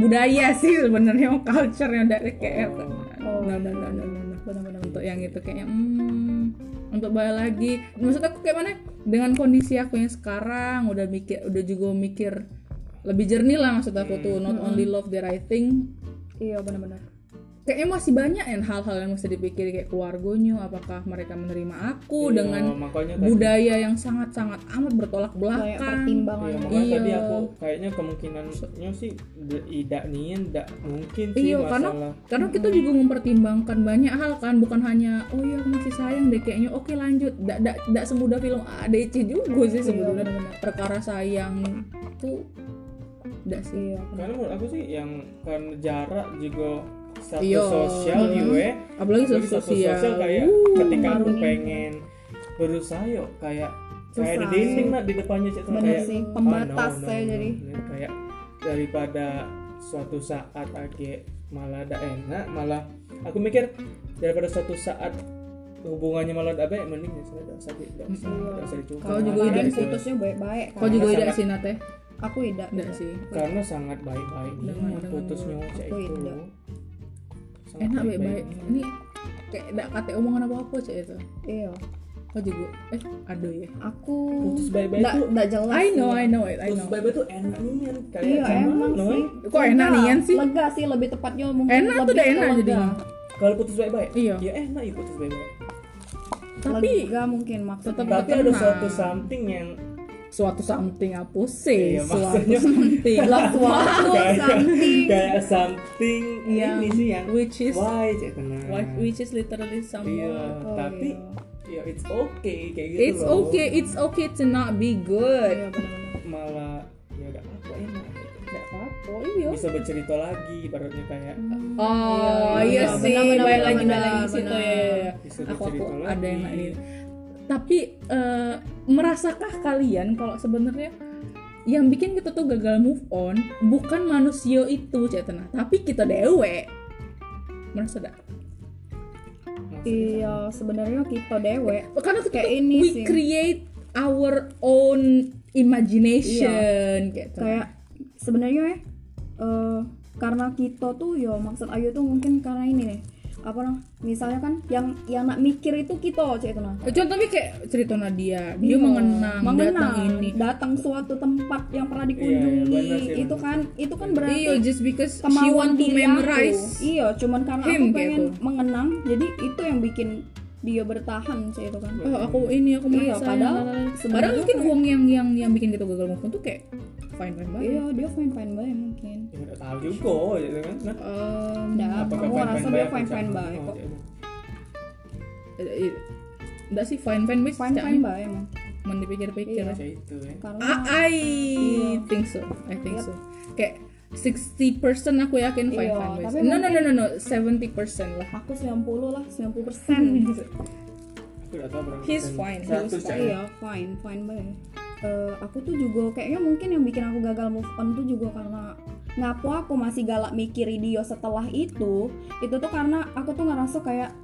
[SPEAKER 1] budaya sih sebenarnya culture yang dari Nah, kayak
[SPEAKER 3] Oh.
[SPEAKER 2] Nah,
[SPEAKER 1] no, no, no, no, no, no. untuk yang itu kayak hmm, untuk balik lagi maksud aku kayak mana dengan kondisi aku yang sekarang udah mikir udah juga mikir lebih jernih lah maksud aku tuh not only love that I think
[SPEAKER 3] iya benar-benar
[SPEAKER 1] kayaknya masih banyak yang hal-hal yang mesti dipikir kayak keluarganya apakah mereka menerima aku
[SPEAKER 2] Iya,
[SPEAKER 1] dengan
[SPEAKER 2] makanya tadi-
[SPEAKER 1] budaya yang sangat-sangat amat bertolak
[SPEAKER 3] kayak
[SPEAKER 1] belakang
[SPEAKER 3] pertimbangan
[SPEAKER 2] Iya, makanya
[SPEAKER 1] Iya.
[SPEAKER 2] tadi aku kayaknya kemungkinannya sih d- tidak nian, tidak mungkin sih
[SPEAKER 1] Iya, karena
[SPEAKER 2] masalah.
[SPEAKER 1] karena kita juga mempertimbangkan banyak hal kan bukan hanya oh iya aku masih sayang deh kayaknya oke lanjut tidak tidak semudah film ADC juga
[SPEAKER 3] Iya,
[SPEAKER 2] Iya,
[SPEAKER 1] sih sebenarnya perkara sayang tuh tidak sih
[SPEAKER 3] iya
[SPEAKER 2] Karena menurut aku sih yang karena jarak juga status
[SPEAKER 1] Iya.
[SPEAKER 2] sosial
[SPEAKER 1] Hmm.
[SPEAKER 2] juga
[SPEAKER 1] apalagi
[SPEAKER 2] Apalagi
[SPEAKER 1] status
[SPEAKER 2] status
[SPEAKER 1] sosial,
[SPEAKER 2] kayak
[SPEAKER 1] Uh,
[SPEAKER 2] ketika aku
[SPEAKER 3] baru nih.
[SPEAKER 2] pengen berusaha yuk kayak kayak ada
[SPEAKER 3] Susah.
[SPEAKER 2] dinding lah di depannya cek
[SPEAKER 3] Bener
[SPEAKER 2] kayak
[SPEAKER 3] sih,
[SPEAKER 2] "Oh, no,
[SPEAKER 3] pembatas
[SPEAKER 2] no,
[SPEAKER 3] saya
[SPEAKER 2] no."
[SPEAKER 3] jadi.
[SPEAKER 2] kayak daripada suatu saat age malah ada enak malah aku mikir daripada suatu saat hubungannya malah ada baik mending ya sudah tidak usah di- tidak usah tidak usah dicoba. Nah,
[SPEAKER 1] Kau
[SPEAKER 3] Kalau
[SPEAKER 1] juga
[SPEAKER 3] kemarin
[SPEAKER 1] ide.
[SPEAKER 3] putusnya baik-baik kan
[SPEAKER 1] kau juga
[SPEAKER 2] Karena
[SPEAKER 1] tidak
[SPEAKER 2] sangat-
[SPEAKER 1] sih nate
[SPEAKER 3] aku tidak
[SPEAKER 1] tidak sih
[SPEAKER 2] karena sangat baik-baik
[SPEAKER 1] Dengan-
[SPEAKER 2] ini
[SPEAKER 1] dengan-
[SPEAKER 2] putusnya cek
[SPEAKER 3] Aku
[SPEAKER 2] itu
[SPEAKER 3] tidak.
[SPEAKER 2] Sangat
[SPEAKER 1] enak baik baik
[SPEAKER 2] Oh, baik-baik.
[SPEAKER 1] ini kayak tidak kata omongan apa apa cek itu
[SPEAKER 3] iya
[SPEAKER 1] kau juga eh ada ya
[SPEAKER 3] aku
[SPEAKER 2] putus baik-baik
[SPEAKER 3] nggak
[SPEAKER 2] tuh
[SPEAKER 3] nggak jelas
[SPEAKER 1] I know
[SPEAKER 3] sih.
[SPEAKER 2] ya.
[SPEAKER 1] I know it I
[SPEAKER 2] putus
[SPEAKER 1] know
[SPEAKER 2] baik-baik tuh enak nian kayak
[SPEAKER 3] iya
[SPEAKER 2] cuman,
[SPEAKER 3] emang
[SPEAKER 2] no,
[SPEAKER 3] sih
[SPEAKER 1] Kok enak
[SPEAKER 3] Lega,
[SPEAKER 1] nian sih?
[SPEAKER 3] lega sih lebih tepatnya mungkin
[SPEAKER 1] enak tuh
[SPEAKER 3] lebih
[SPEAKER 1] udah
[SPEAKER 3] ke
[SPEAKER 1] enak
[SPEAKER 3] lega.
[SPEAKER 1] jadinya
[SPEAKER 2] kalau putus baik-baik
[SPEAKER 1] Iya.
[SPEAKER 2] ya enak ya putus baik-baik
[SPEAKER 1] tapi
[SPEAKER 3] lega mungkin maksudnya
[SPEAKER 1] tetap-
[SPEAKER 2] tapi ada
[SPEAKER 1] Tenang.
[SPEAKER 2] suatu something yang
[SPEAKER 1] suatu something apa sih
[SPEAKER 2] Iya,
[SPEAKER 1] suatu
[SPEAKER 2] maksudnya-
[SPEAKER 1] something
[SPEAKER 3] lah suatu
[SPEAKER 2] kayak
[SPEAKER 3] something
[SPEAKER 2] kayak something
[SPEAKER 1] Yang-
[SPEAKER 2] ini sih yang
[SPEAKER 1] which is
[SPEAKER 2] why cek tenang
[SPEAKER 1] Like, which is literally
[SPEAKER 2] iya
[SPEAKER 1] someone
[SPEAKER 3] Oh,
[SPEAKER 2] tapi ya
[SPEAKER 3] iya.
[SPEAKER 2] it's okay kayak gitu
[SPEAKER 1] it's
[SPEAKER 2] loh.
[SPEAKER 1] okay it's okay to not be
[SPEAKER 3] Iya,
[SPEAKER 1] good
[SPEAKER 3] benar-benar.
[SPEAKER 2] malah ya gak apa-apa enak gak apa-apa
[SPEAKER 1] oh iya
[SPEAKER 2] bisa bercerita lagi ibaratnya kayak ah,
[SPEAKER 1] oh
[SPEAKER 3] Iya,
[SPEAKER 1] iya
[SPEAKER 3] benar,
[SPEAKER 1] sih
[SPEAKER 3] benar,
[SPEAKER 1] balik
[SPEAKER 3] benar,
[SPEAKER 1] lagi
[SPEAKER 3] benar,
[SPEAKER 1] balik lagi ke situ
[SPEAKER 3] benar.
[SPEAKER 1] ya, ya, ya.
[SPEAKER 2] Bisa
[SPEAKER 1] aku aku
[SPEAKER 2] dicerita
[SPEAKER 1] ada yang
[SPEAKER 2] lagi.
[SPEAKER 1] ini tapi eh, merasakah kalian kalau sebenarnya yang bikin kita tuh gagal move on bukan manusia itu cetana tapi kita dewe merasa dak
[SPEAKER 3] iya sebenarnya kita dewe
[SPEAKER 1] karena kita
[SPEAKER 3] Kayak
[SPEAKER 1] tuh
[SPEAKER 3] ini
[SPEAKER 1] we
[SPEAKER 3] sih.
[SPEAKER 1] create our own imagination gitu
[SPEAKER 3] kayak sebenarnya ya eh, karena kita tuh ya maksud Ayu tuh mungkin karena ini nih apa nah misalnya kan yang yang nak mikir itu kita cek itu nah Iya.
[SPEAKER 1] contohnya kayak cerita Nadia dia Iya. mengenang, datang ini
[SPEAKER 3] datang suatu tempat yang pernah
[SPEAKER 2] Iya,
[SPEAKER 3] dikunjungi
[SPEAKER 2] iya, benar sih,
[SPEAKER 3] itu
[SPEAKER 2] benar.
[SPEAKER 3] kan itu kan
[SPEAKER 1] iya
[SPEAKER 3] berarti
[SPEAKER 1] just because she
[SPEAKER 3] kemauan
[SPEAKER 1] want to
[SPEAKER 3] diri aku
[SPEAKER 1] memorize
[SPEAKER 3] iya cuman karena
[SPEAKER 1] Him, gitu.
[SPEAKER 3] aku
[SPEAKER 1] kayak
[SPEAKER 3] pengen
[SPEAKER 1] itu.
[SPEAKER 3] mengenang jadi itu yang bikin dia bertahan sih itu kan
[SPEAKER 1] oh aku ini aku
[SPEAKER 3] Iya,
[SPEAKER 1] merasa
[SPEAKER 3] padahal
[SPEAKER 1] padahal
[SPEAKER 3] sebenarnya
[SPEAKER 1] mungkin
[SPEAKER 3] kayak-
[SPEAKER 1] uang yang yang yang bikin kita gagal move on tuh kayak fine fine banget
[SPEAKER 3] iya dia fine fine baik mungkin
[SPEAKER 2] ya gak tahu juga gitu kan nah,
[SPEAKER 1] Em,
[SPEAKER 3] Nah,
[SPEAKER 2] apakah
[SPEAKER 3] kamu
[SPEAKER 2] fine-fine
[SPEAKER 3] rasa
[SPEAKER 2] baik
[SPEAKER 3] dia
[SPEAKER 2] atau
[SPEAKER 3] fine fine
[SPEAKER 2] jangan?
[SPEAKER 3] baik
[SPEAKER 2] Oh,
[SPEAKER 3] kok
[SPEAKER 1] iya.
[SPEAKER 2] cek itu.
[SPEAKER 1] eh, eh, enggak sih fine fine baik
[SPEAKER 3] fine fine baik emang
[SPEAKER 1] mau dipikir-pikir
[SPEAKER 3] Iya.
[SPEAKER 2] Cek itu ya
[SPEAKER 3] karena
[SPEAKER 1] I, Ah, I think so. I think so. Kayak 60% aku yakin fine
[SPEAKER 3] Iya,
[SPEAKER 1] fine ways.
[SPEAKER 3] tapi
[SPEAKER 1] No no no no no 70% lah.
[SPEAKER 3] aku 90 lah 90 persen gitu.
[SPEAKER 2] aku gak tahu berapa
[SPEAKER 1] He's
[SPEAKER 2] persen.
[SPEAKER 1] fine, he
[SPEAKER 2] Seratus,
[SPEAKER 1] was
[SPEAKER 2] cek.
[SPEAKER 1] fine.
[SPEAKER 3] iya fine fine banget Eh, aku tuh juga kayaknya mungkin yang bikin aku gagal move on tuh juga karena ngapo aku masih galak mikirin dia setelah itu itu tuh karena aku tuh ngerasa kayak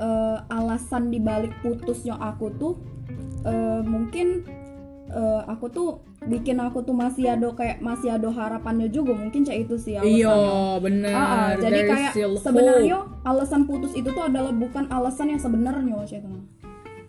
[SPEAKER 3] eh, alasan dibalik putusnya aku tuh eh, mungkin eh, aku tuh bikin aku tuh masih ada kayak masih ada harapannya juga mungkin kayak itu sih alasannya.
[SPEAKER 1] Iya, benar.
[SPEAKER 3] Ah, ah, jadi
[SPEAKER 1] There is
[SPEAKER 3] kayak
[SPEAKER 1] still hope.
[SPEAKER 3] sebenarnya alasan putus itu tuh adalah bukan alasan yang sebenarnya Cek.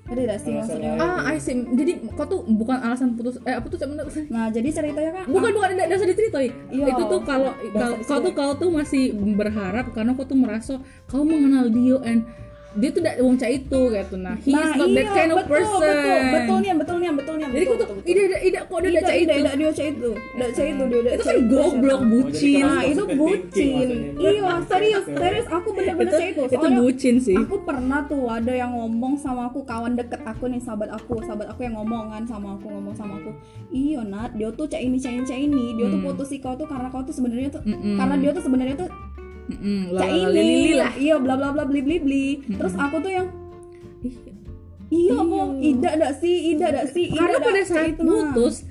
[SPEAKER 3] Ngerti gak sih
[SPEAKER 2] Alasan
[SPEAKER 3] maksudnya?
[SPEAKER 2] lain.
[SPEAKER 1] Ah, I see. Jadi kau tuh bukan alasan putus eh apa tuh sebenarnya?
[SPEAKER 3] Nah, jadi ceritanya kan
[SPEAKER 1] Bukan bukan enggak dasar diceritain.
[SPEAKER 3] Iya. ya.
[SPEAKER 1] Itu tuh kalau
[SPEAKER 3] Dasar
[SPEAKER 1] kau, kau tuh
[SPEAKER 3] sih.
[SPEAKER 1] kau tuh masih berharap karena kau tuh merasa kau mengenal dia and dia tuh da- wongca itu kayak tuh nah he is not that
[SPEAKER 3] iya,
[SPEAKER 1] kind of
[SPEAKER 3] betul,
[SPEAKER 1] person
[SPEAKER 3] betul betul nian betul nian betul nian
[SPEAKER 1] jadi
[SPEAKER 3] betul,
[SPEAKER 1] kok tuh
[SPEAKER 3] betul, betul. Iya,
[SPEAKER 1] ida ida ida kok ada
[SPEAKER 3] Ida,
[SPEAKER 1] daca
[SPEAKER 3] Ida,
[SPEAKER 1] itu
[SPEAKER 3] Ida, dia cah itu, Ida cah itu, dia Ida
[SPEAKER 1] itu
[SPEAKER 3] cah
[SPEAKER 1] kan goblok
[SPEAKER 3] siapa?
[SPEAKER 1] bucin
[SPEAKER 2] Nah,
[SPEAKER 3] Nah, itu
[SPEAKER 2] Positive thinking
[SPEAKER 3] bucin.
[SPEAKER 2] maksudnya.
[SPEAKER 3] Iya, serius,
[SPEAKER 2] Iya.
[SPEAKER 3] serius. Aku bener-bener
[SPEAKER 1] itu
[SPEAKER 3] cah itu.
[SPEAKER 1] itu
[SPEAKER 3] Soalnya
[SPEAKER 1] bucin sih
[SPEAKER 3] aku pernah tuh ada yang ngomong sama aku kawan deket aku nih sahabat aku sahabat aku yang ngomongan sama aku ngomong sama aku iyo nat dia tuh cah ini cah ini cah ini dia tuh
[SPEAKER 1] Hmm.
[SPEAKER 3] putusi kau tuh karena kau tuh sebenarnya tuh
[SPEAKER 1] Mm-mm.
[SPEAKER 3] karena dia tuh sebenarnya tuh
[SPEAKER 1] Mm-mm.
[SPEAKER 3] cah
[SPEAKER 1] Lala-
[SPEAKER 3] ini
[SPEAKER 1] lili
[SPEAKER 3] lah iyo bla bla bla bli bli bli terus aku tuh yang
[SPEAKER 1] Ih, Iya.
[SPEAKER 3] iyo mau ida dak si ida dak si
[SPEAKER 1] karena
[SPEAKER 3] dak
[SPEAKER 1] pada
[SPEAKER 3] si
[SPEAKER 1] saat
[SPEAKER 3] Nat."
[SPEAKER 1] putus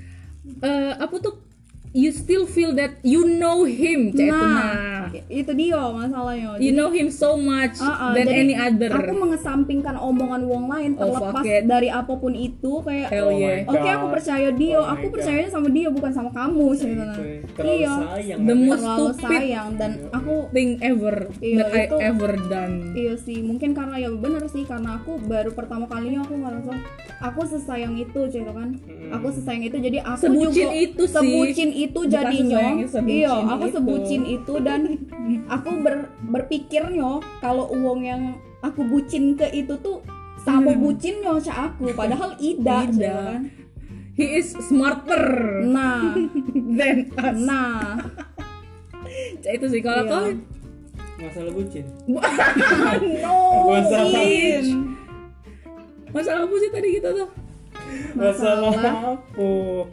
[SPEAKER 1] eh, aku tuh you still feel that you know him cah itu nah
[SPEAKER 3] nah itu dia masalahnya
[SPEAKER 1] you know him so much
[SPEAKER 3] Uh-uh,
[SPEAKER 1] than
[SPEAKER 3] jadi
[SPEAKER 1] any other
[SPEAKER 3] aku mengesampingkan omongan wong lain
[SPEAKER 1] Oh, fuck
[SPEAKER 3] terlepas
[SPEAKER 1] it.
[SPEAKER 3] dari apapun itu kayak
[SPEAKER 1] hell
[SPEAKER 2] Oh my
[SPEAKER 1] yeah
[SPEAKER 3] Oke, aku
[SPEAKER 2] God.
[SPEAKER 3] percaya dia.
[SPEAKER 2] Oh my
[SPEAKER 3] aku
[SPEAKER 2] God. Iya,
[SPEAKER 3] percayanya sama dia bukan sama kamu sih Nana.
[SPEAKER 2] Terlalu
[SPEAKER 3] Iya.
[SPEAKER 2] Gitu ya. sayang.
[SPEAKER 1] The
[SPEAKER 2] Nat.
[SPEAKER 1] most
[SPEAKER 3] Terlalu
[SPEAKER 1] stupid.
[SPEAKER 3] sayang dan aku
[SPEAKER 1] thing ever
[SPEAKER 3] Iya,
[SPEAKER 1] that I
[SPEAKER 3] itu-
[SPEAKER 1] ever done
[SPEAKER 3] iya sih, mungkin karena ya bener sih karena aku baru pertama kalinya aku ngerasa aku sesayang itu gitu kan.
[SPEAKER 2] Mm.
[SPEAKER 3] Aku sesayang itu jadi aku
[SPEAKER 1] Sebucin
[SPEAKER 3] juga
[SPEAKER 1] itu sih.
[SPEAKER 3] sebucin itu
[SPEAKER 1] Bukan
[SPEAKER 3] jadinya.
[SPEAKER 1] sesayangnya, sebucin
[SPEAKER 3] iya, aku
[SPEAKER 1] itu.
[SPEAKER 3] sebucin itu dan aku ber, berpikirnya kalau uang yang aku bucin ke itu tuh sama
[SPEAKER 1] Hmm.
[SPEAKER 3] bucinnya cak aku padahal
[SPEAKER 1] Ida.
[SPEAKER 3] ida, gitu kan.
[SPEAKER 1] he is smarter
[SPEAKER 3] Nah,
[SPEAKER 1] than us
[SPEAKER 3] nah
[SPEAKER 1] Cah, itu sih kalau
[SPEAKER 3] Iya.
[SPEAKER 1] kau
[SPEAKER 2] Masalah bucin.
[SPEAKER 1] no
[SPEAKER 2] Masalah
[SPEAKER 1] Iin. masalah apa sih tadi gitu tuh
[SPEAKER 2] Masalah,
[SPEAKER 3] Masalah.
[SPEAKER 2] apa?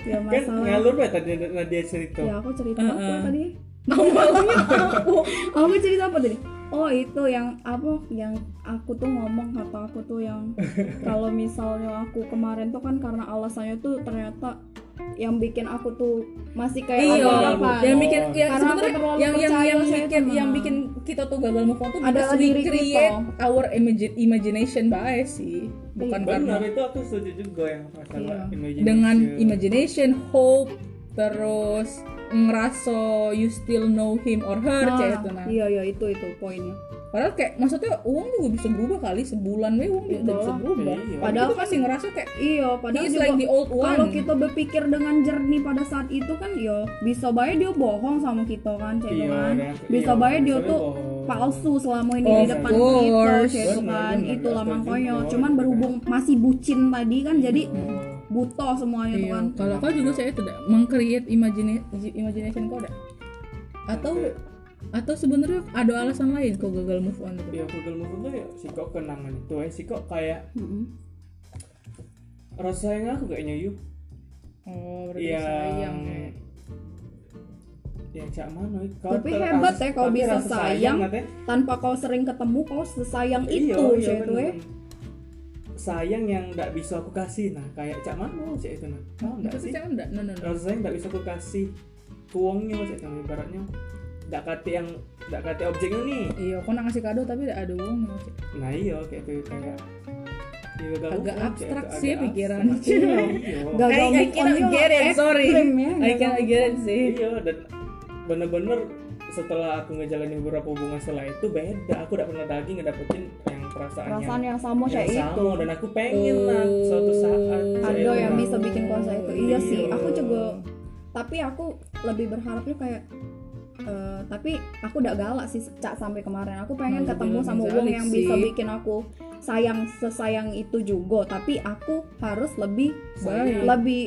[SPEAKER 3] Ya,
[SPEAKER 2] Kan
[SPEAKER 3] masalah.
[SPEAKER 2] ngalur banget tadi Nadia cerita.
[SPEAKER 3] ya aku cerita
[SPEAKER 1] Uh-uh.
[SPEAKER 3] apa tadi
[SPEAKER 1] awalnya aku
[SPEAKER 3] aku cerita apa tadi oh itu yang apa yang aku tuh ngomong kata aku tuh yang kalau misalnya aku kemarin tuh kan karena alasannya tuh ternyata yang bikin aku tuh masih
[SPEAKER 1] Iya,
[SPEAKER 3] kayak ada
[SPEAKER 2] apa?
[SPEAKER 1] yang bikin ya
[SPEAKER 3] Karena aku
[SPEAKER 1] sebenarnya
[SPEAKER 3] terlalu
[SPEAKER 1] yang yang
[SPEAKER 3] percaya
[SPEAKER 1] yang
[SPEAKER 3] saya
[SPEAKER 1] bikin
[SPEAKER 3] sama.
[SPEAKER 1] yang bikin kita tuh gagal move on tuh
[SPEAKER 3] Adalah
[SPEAKER 1] because we
[SPEAKER 3] diri kita.
[SPEAKER 1] create our imagi- imagination bae sih, bukan karena
[SPEAKER 2] Benar itu aku setuju juga yang masalah
[SPEAKER 3] Iya.
[SPEAKER 2] imagination.
[SPEAKER 1] dengan imagination, hope, terus ngeraso you still know him or her
[SPEAKER 3] Nah,
[SPEAKER 1] kayak gitu nah.
[SPEAKER 3] iya iya itu itu poinnya
[SPEAKER 1] Padahal kayak maksudnya uang juga bisa berubah kali sebulan we uang juga
[SPEAKER 3] Betul.
[SPEAKER 1] bisa berubah.
[SPEAKER 2] Iya.
[SPEAKER 1] Padahal kan
[SPEAKER 3] Padahal
[SPEAKER 1] kita masih ngerasa kayak
[SPEAKER 3] iya
[SPEAKER 1] he
[SPEAKER 3] padahal
[SPEAKER 1] is
[SPEAKER 3] juga
[SPEAKER 1] like the old one.
[SPEAKER 3] kalau kita berpikir dengan jernih pada saat itu kan yo bisa baik dia bohong sama kita kan cek
[SPEAKER 2] Iya,
[SPEAKER 3] kan
[SPEAKER 2] dan-
[SPEAKER 3] bisa
[SPEAKER 2] iya,
[SPEAKER 3] baik dia
[SPEAKER 2] misalnya
[SPEAKER 3] tuh
[SPEAKER 2] bohong.
[SPEAKER 3] palsu selama ini
[SPEAKER 1] Of
[SPEAKER 3] di depan
[SPEAKER 1] course.
[SPEAKER 3] kita gitu
[SPEAKER 2] Bener,
[SPEAKER 3] kan
[SPEAKER 2] bener,
[SPEAKER 3] itulah
[SPEAKER 2] setuju,
[SPEAKER 3] makanya
[SPEAKER 2] bener.
[SPEAKER 3] cuman berhubung masih bucin tadi kan jadi
[SPEAKER 2] Oh.
[SPEAKER 3] buto semuanya tuh
[SPEAKER 1] Iya,
[SPEAKER 3] kan
[SPEAKER 1] kalau kau juga saya tidak mengcreate imagine imagination kau ada atau atau sebenarnya ada alasan lain kau gagal move on itu
[SPEAKER 2] Ya Google Move tuh ya si kok kenangan itu eh si kok kayak
[SPEAKER 3] Mm-mm.
[SPEAKER 2] rasa yang aku kayaknya yuk
[SPEAKER 1] oh
[SPEAKER 2] Iya.
[SPEAKER 1] berarti sayang
[SPEAKER 2] yang
[SPEAKER 1] ya.
[SPEAKER 2] yang cak mana eh? kau
[SPEAKER 3] tapi
[SPEAKER 2] ter-
[SPEAKER 3] hebat
[SPEAKER 2] rasa-
[SPEAKER 3] ya kau
[SPEAKER 2] tapi
[SPEAKER 3] bisa
[SPEAKER 2] rasa
[SPEAKER 3] sayang
[SPEAKER 2] Nat, eh.
[SPEAKER 3] tanpa kau sering ketemu kau sesayang
[SPEAKER 2] Iya,
[SPEAKER 3] itu
[SPEAKER 2] iya,
[SPEAKER 3] cek itu
[SPEAKER 2] bener.
[SPEAKER 3] ya
[SPEAKER 2] sayang yang nggak bisa aku kasih nah kayak cak mana cak itu nah Tahu nggak
[SPEAKER 1] itu
[SPEAKER 2] sih
[SPEAKER 1] sih sayang enggak no no no
[SPEAKER 2] rasa yang nggak bisa aku kasih tuangnya cak itu ibaratnya nggak kate yang nggak kate objeknya nih
[SPEAKER 1] iya kau nak ngasih kado tapi tidak ada uang no, Cik.
[SPEAKER 2] nah iya kayak itu kayak ya,
[SPEAKER 1] Agak
[SPEAKER 2] gagal move on, Cak, itu.
[SPEAKER 1] abstrak
[SPEAKER 2] Agak
[SPEAKER 1] sih
[SPEAKER 2] abstrak.
[SPEAKER 1] pikiran.
[SPEAKER 2] Iya, iya.
[SPEAKER 1] I-
[SPEAKER 3] Gagal
[SPEAKER 1] I
[SPEAKER 3] move on
[SPEAKER 1] cannot
[SPEAKER 3] juga
[SPEAKER 1] get it, sorry.
[SPEAKER 3] ekstrim ya,
[SPEAKER 1] I
[SPEAKER 3] gagal
[SPEAKER 1] cannot get it sih
[SPEAKER 2] Iya dan bener-bener setelah aku ngejalanin beberapa hubungan setelah itu beda aku udah pernah lagi ngedapetin yang perasaan,
[SPEAKER 3] perasaan
[SPEAKER 2] yang,
[SPEAKER 3] yang sama
[SPEAKER 2] yang
[SPEAKER 3] cek itu
[SPEAKER 2] sama dan aku pengen lah suatu saat
[SPEAKER 1] Oh.
[SPEAKER 2] saya
[SPEAKER 3] ada yang
[SPEAKER 2] pernah-
[SPEAKER 3] bisa bikin kau cek itu iya sih
[SPEAKER 2] Iya.
[SPEAKER 3] aku juga tapi aku lebih berharapnya kayak eh, tapi aku udah galak sih cak sampai kemarin aku pengen
[SPEAKER 1] Nah,
[SPEAKER 3] ketemu
[SPEAKER 1] lebih
[SPEAKER 3] sama
[SPEAKER 1] lebih
[SPEAKER 3] uang
[SPEAKER 1] zalik
[SPEAKER 3] yang
[SPEAKER 1] sih.
[SPEAKER 3] bisa bikin aku sayang sesayang itu juga tapi aku harus lebih
[SPEAKER 1] Baik.
[SPEAKER 3] lebih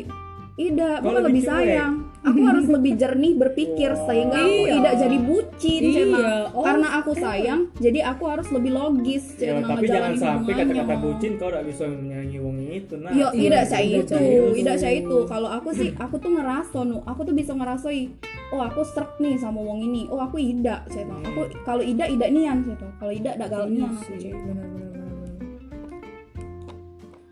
[SPEAKER 3] Ida,
[SPEAKER 2] Kau
[SPEAKER 3] bukan
[SPEAKER 2] lebih
[SPEAKER 3] lebih
[SPEAKER 2] cuek.
[SPEAKER 3] sayang. Aku harus lebih jernih berpikir
[SPEAKER 2] Wow.
[SPEAKER 3] sehingga aku
[SPEAKER 1] Iya.
[SPEAKER 3] tidak jadi bucin,
[SPEAKER 1] Iya.
[SPEAKER 3] Cena.
[SPEAKER 1] Oh,
[SPEAKER 3] Karena aku sayang, jadi aku harus lebih logis,
[SPEAKER 2] Ya, tapi
[SPEAKER 3] Cena,
[SPEAKER 2] jangan
[SPEAKER 3] ngejalanin
[SPEAKER 2] sampai
[SPEAKER 3] hubungannya.
[SPEAKER 2] kata-kata bucin kau udah bisa menyayangi wong itu nah
[SPEAKER 3] Yo,
[SPEAKER 1] Iya,
[SPEAKER 3] tidak saya
[SPEAKER 1] tidak
[SPEAKER 3] itu,
[SPEAKER 1] saya itu.
[SPEAKER 3] tidak saya itu. Kalau aku sih, aku tuh ngeraso nu, aku tuh bisa ngerasoi. Oh, aku serk nih sama wong ini. Oh, aku ida, saya tahu.
[SPEAKER 2] Hmm.
[SPEAKER 3] Aku kalau ida ida nian, saya tahu. Kalau ida dak gal
[SPEAKER 1] Iya
[SPEAKER 3] nian aku.
[SPEAKER 1] sih,
[SPEAKER 3] Cek.
[SPEAKER 1] benar, benar, benar, benar.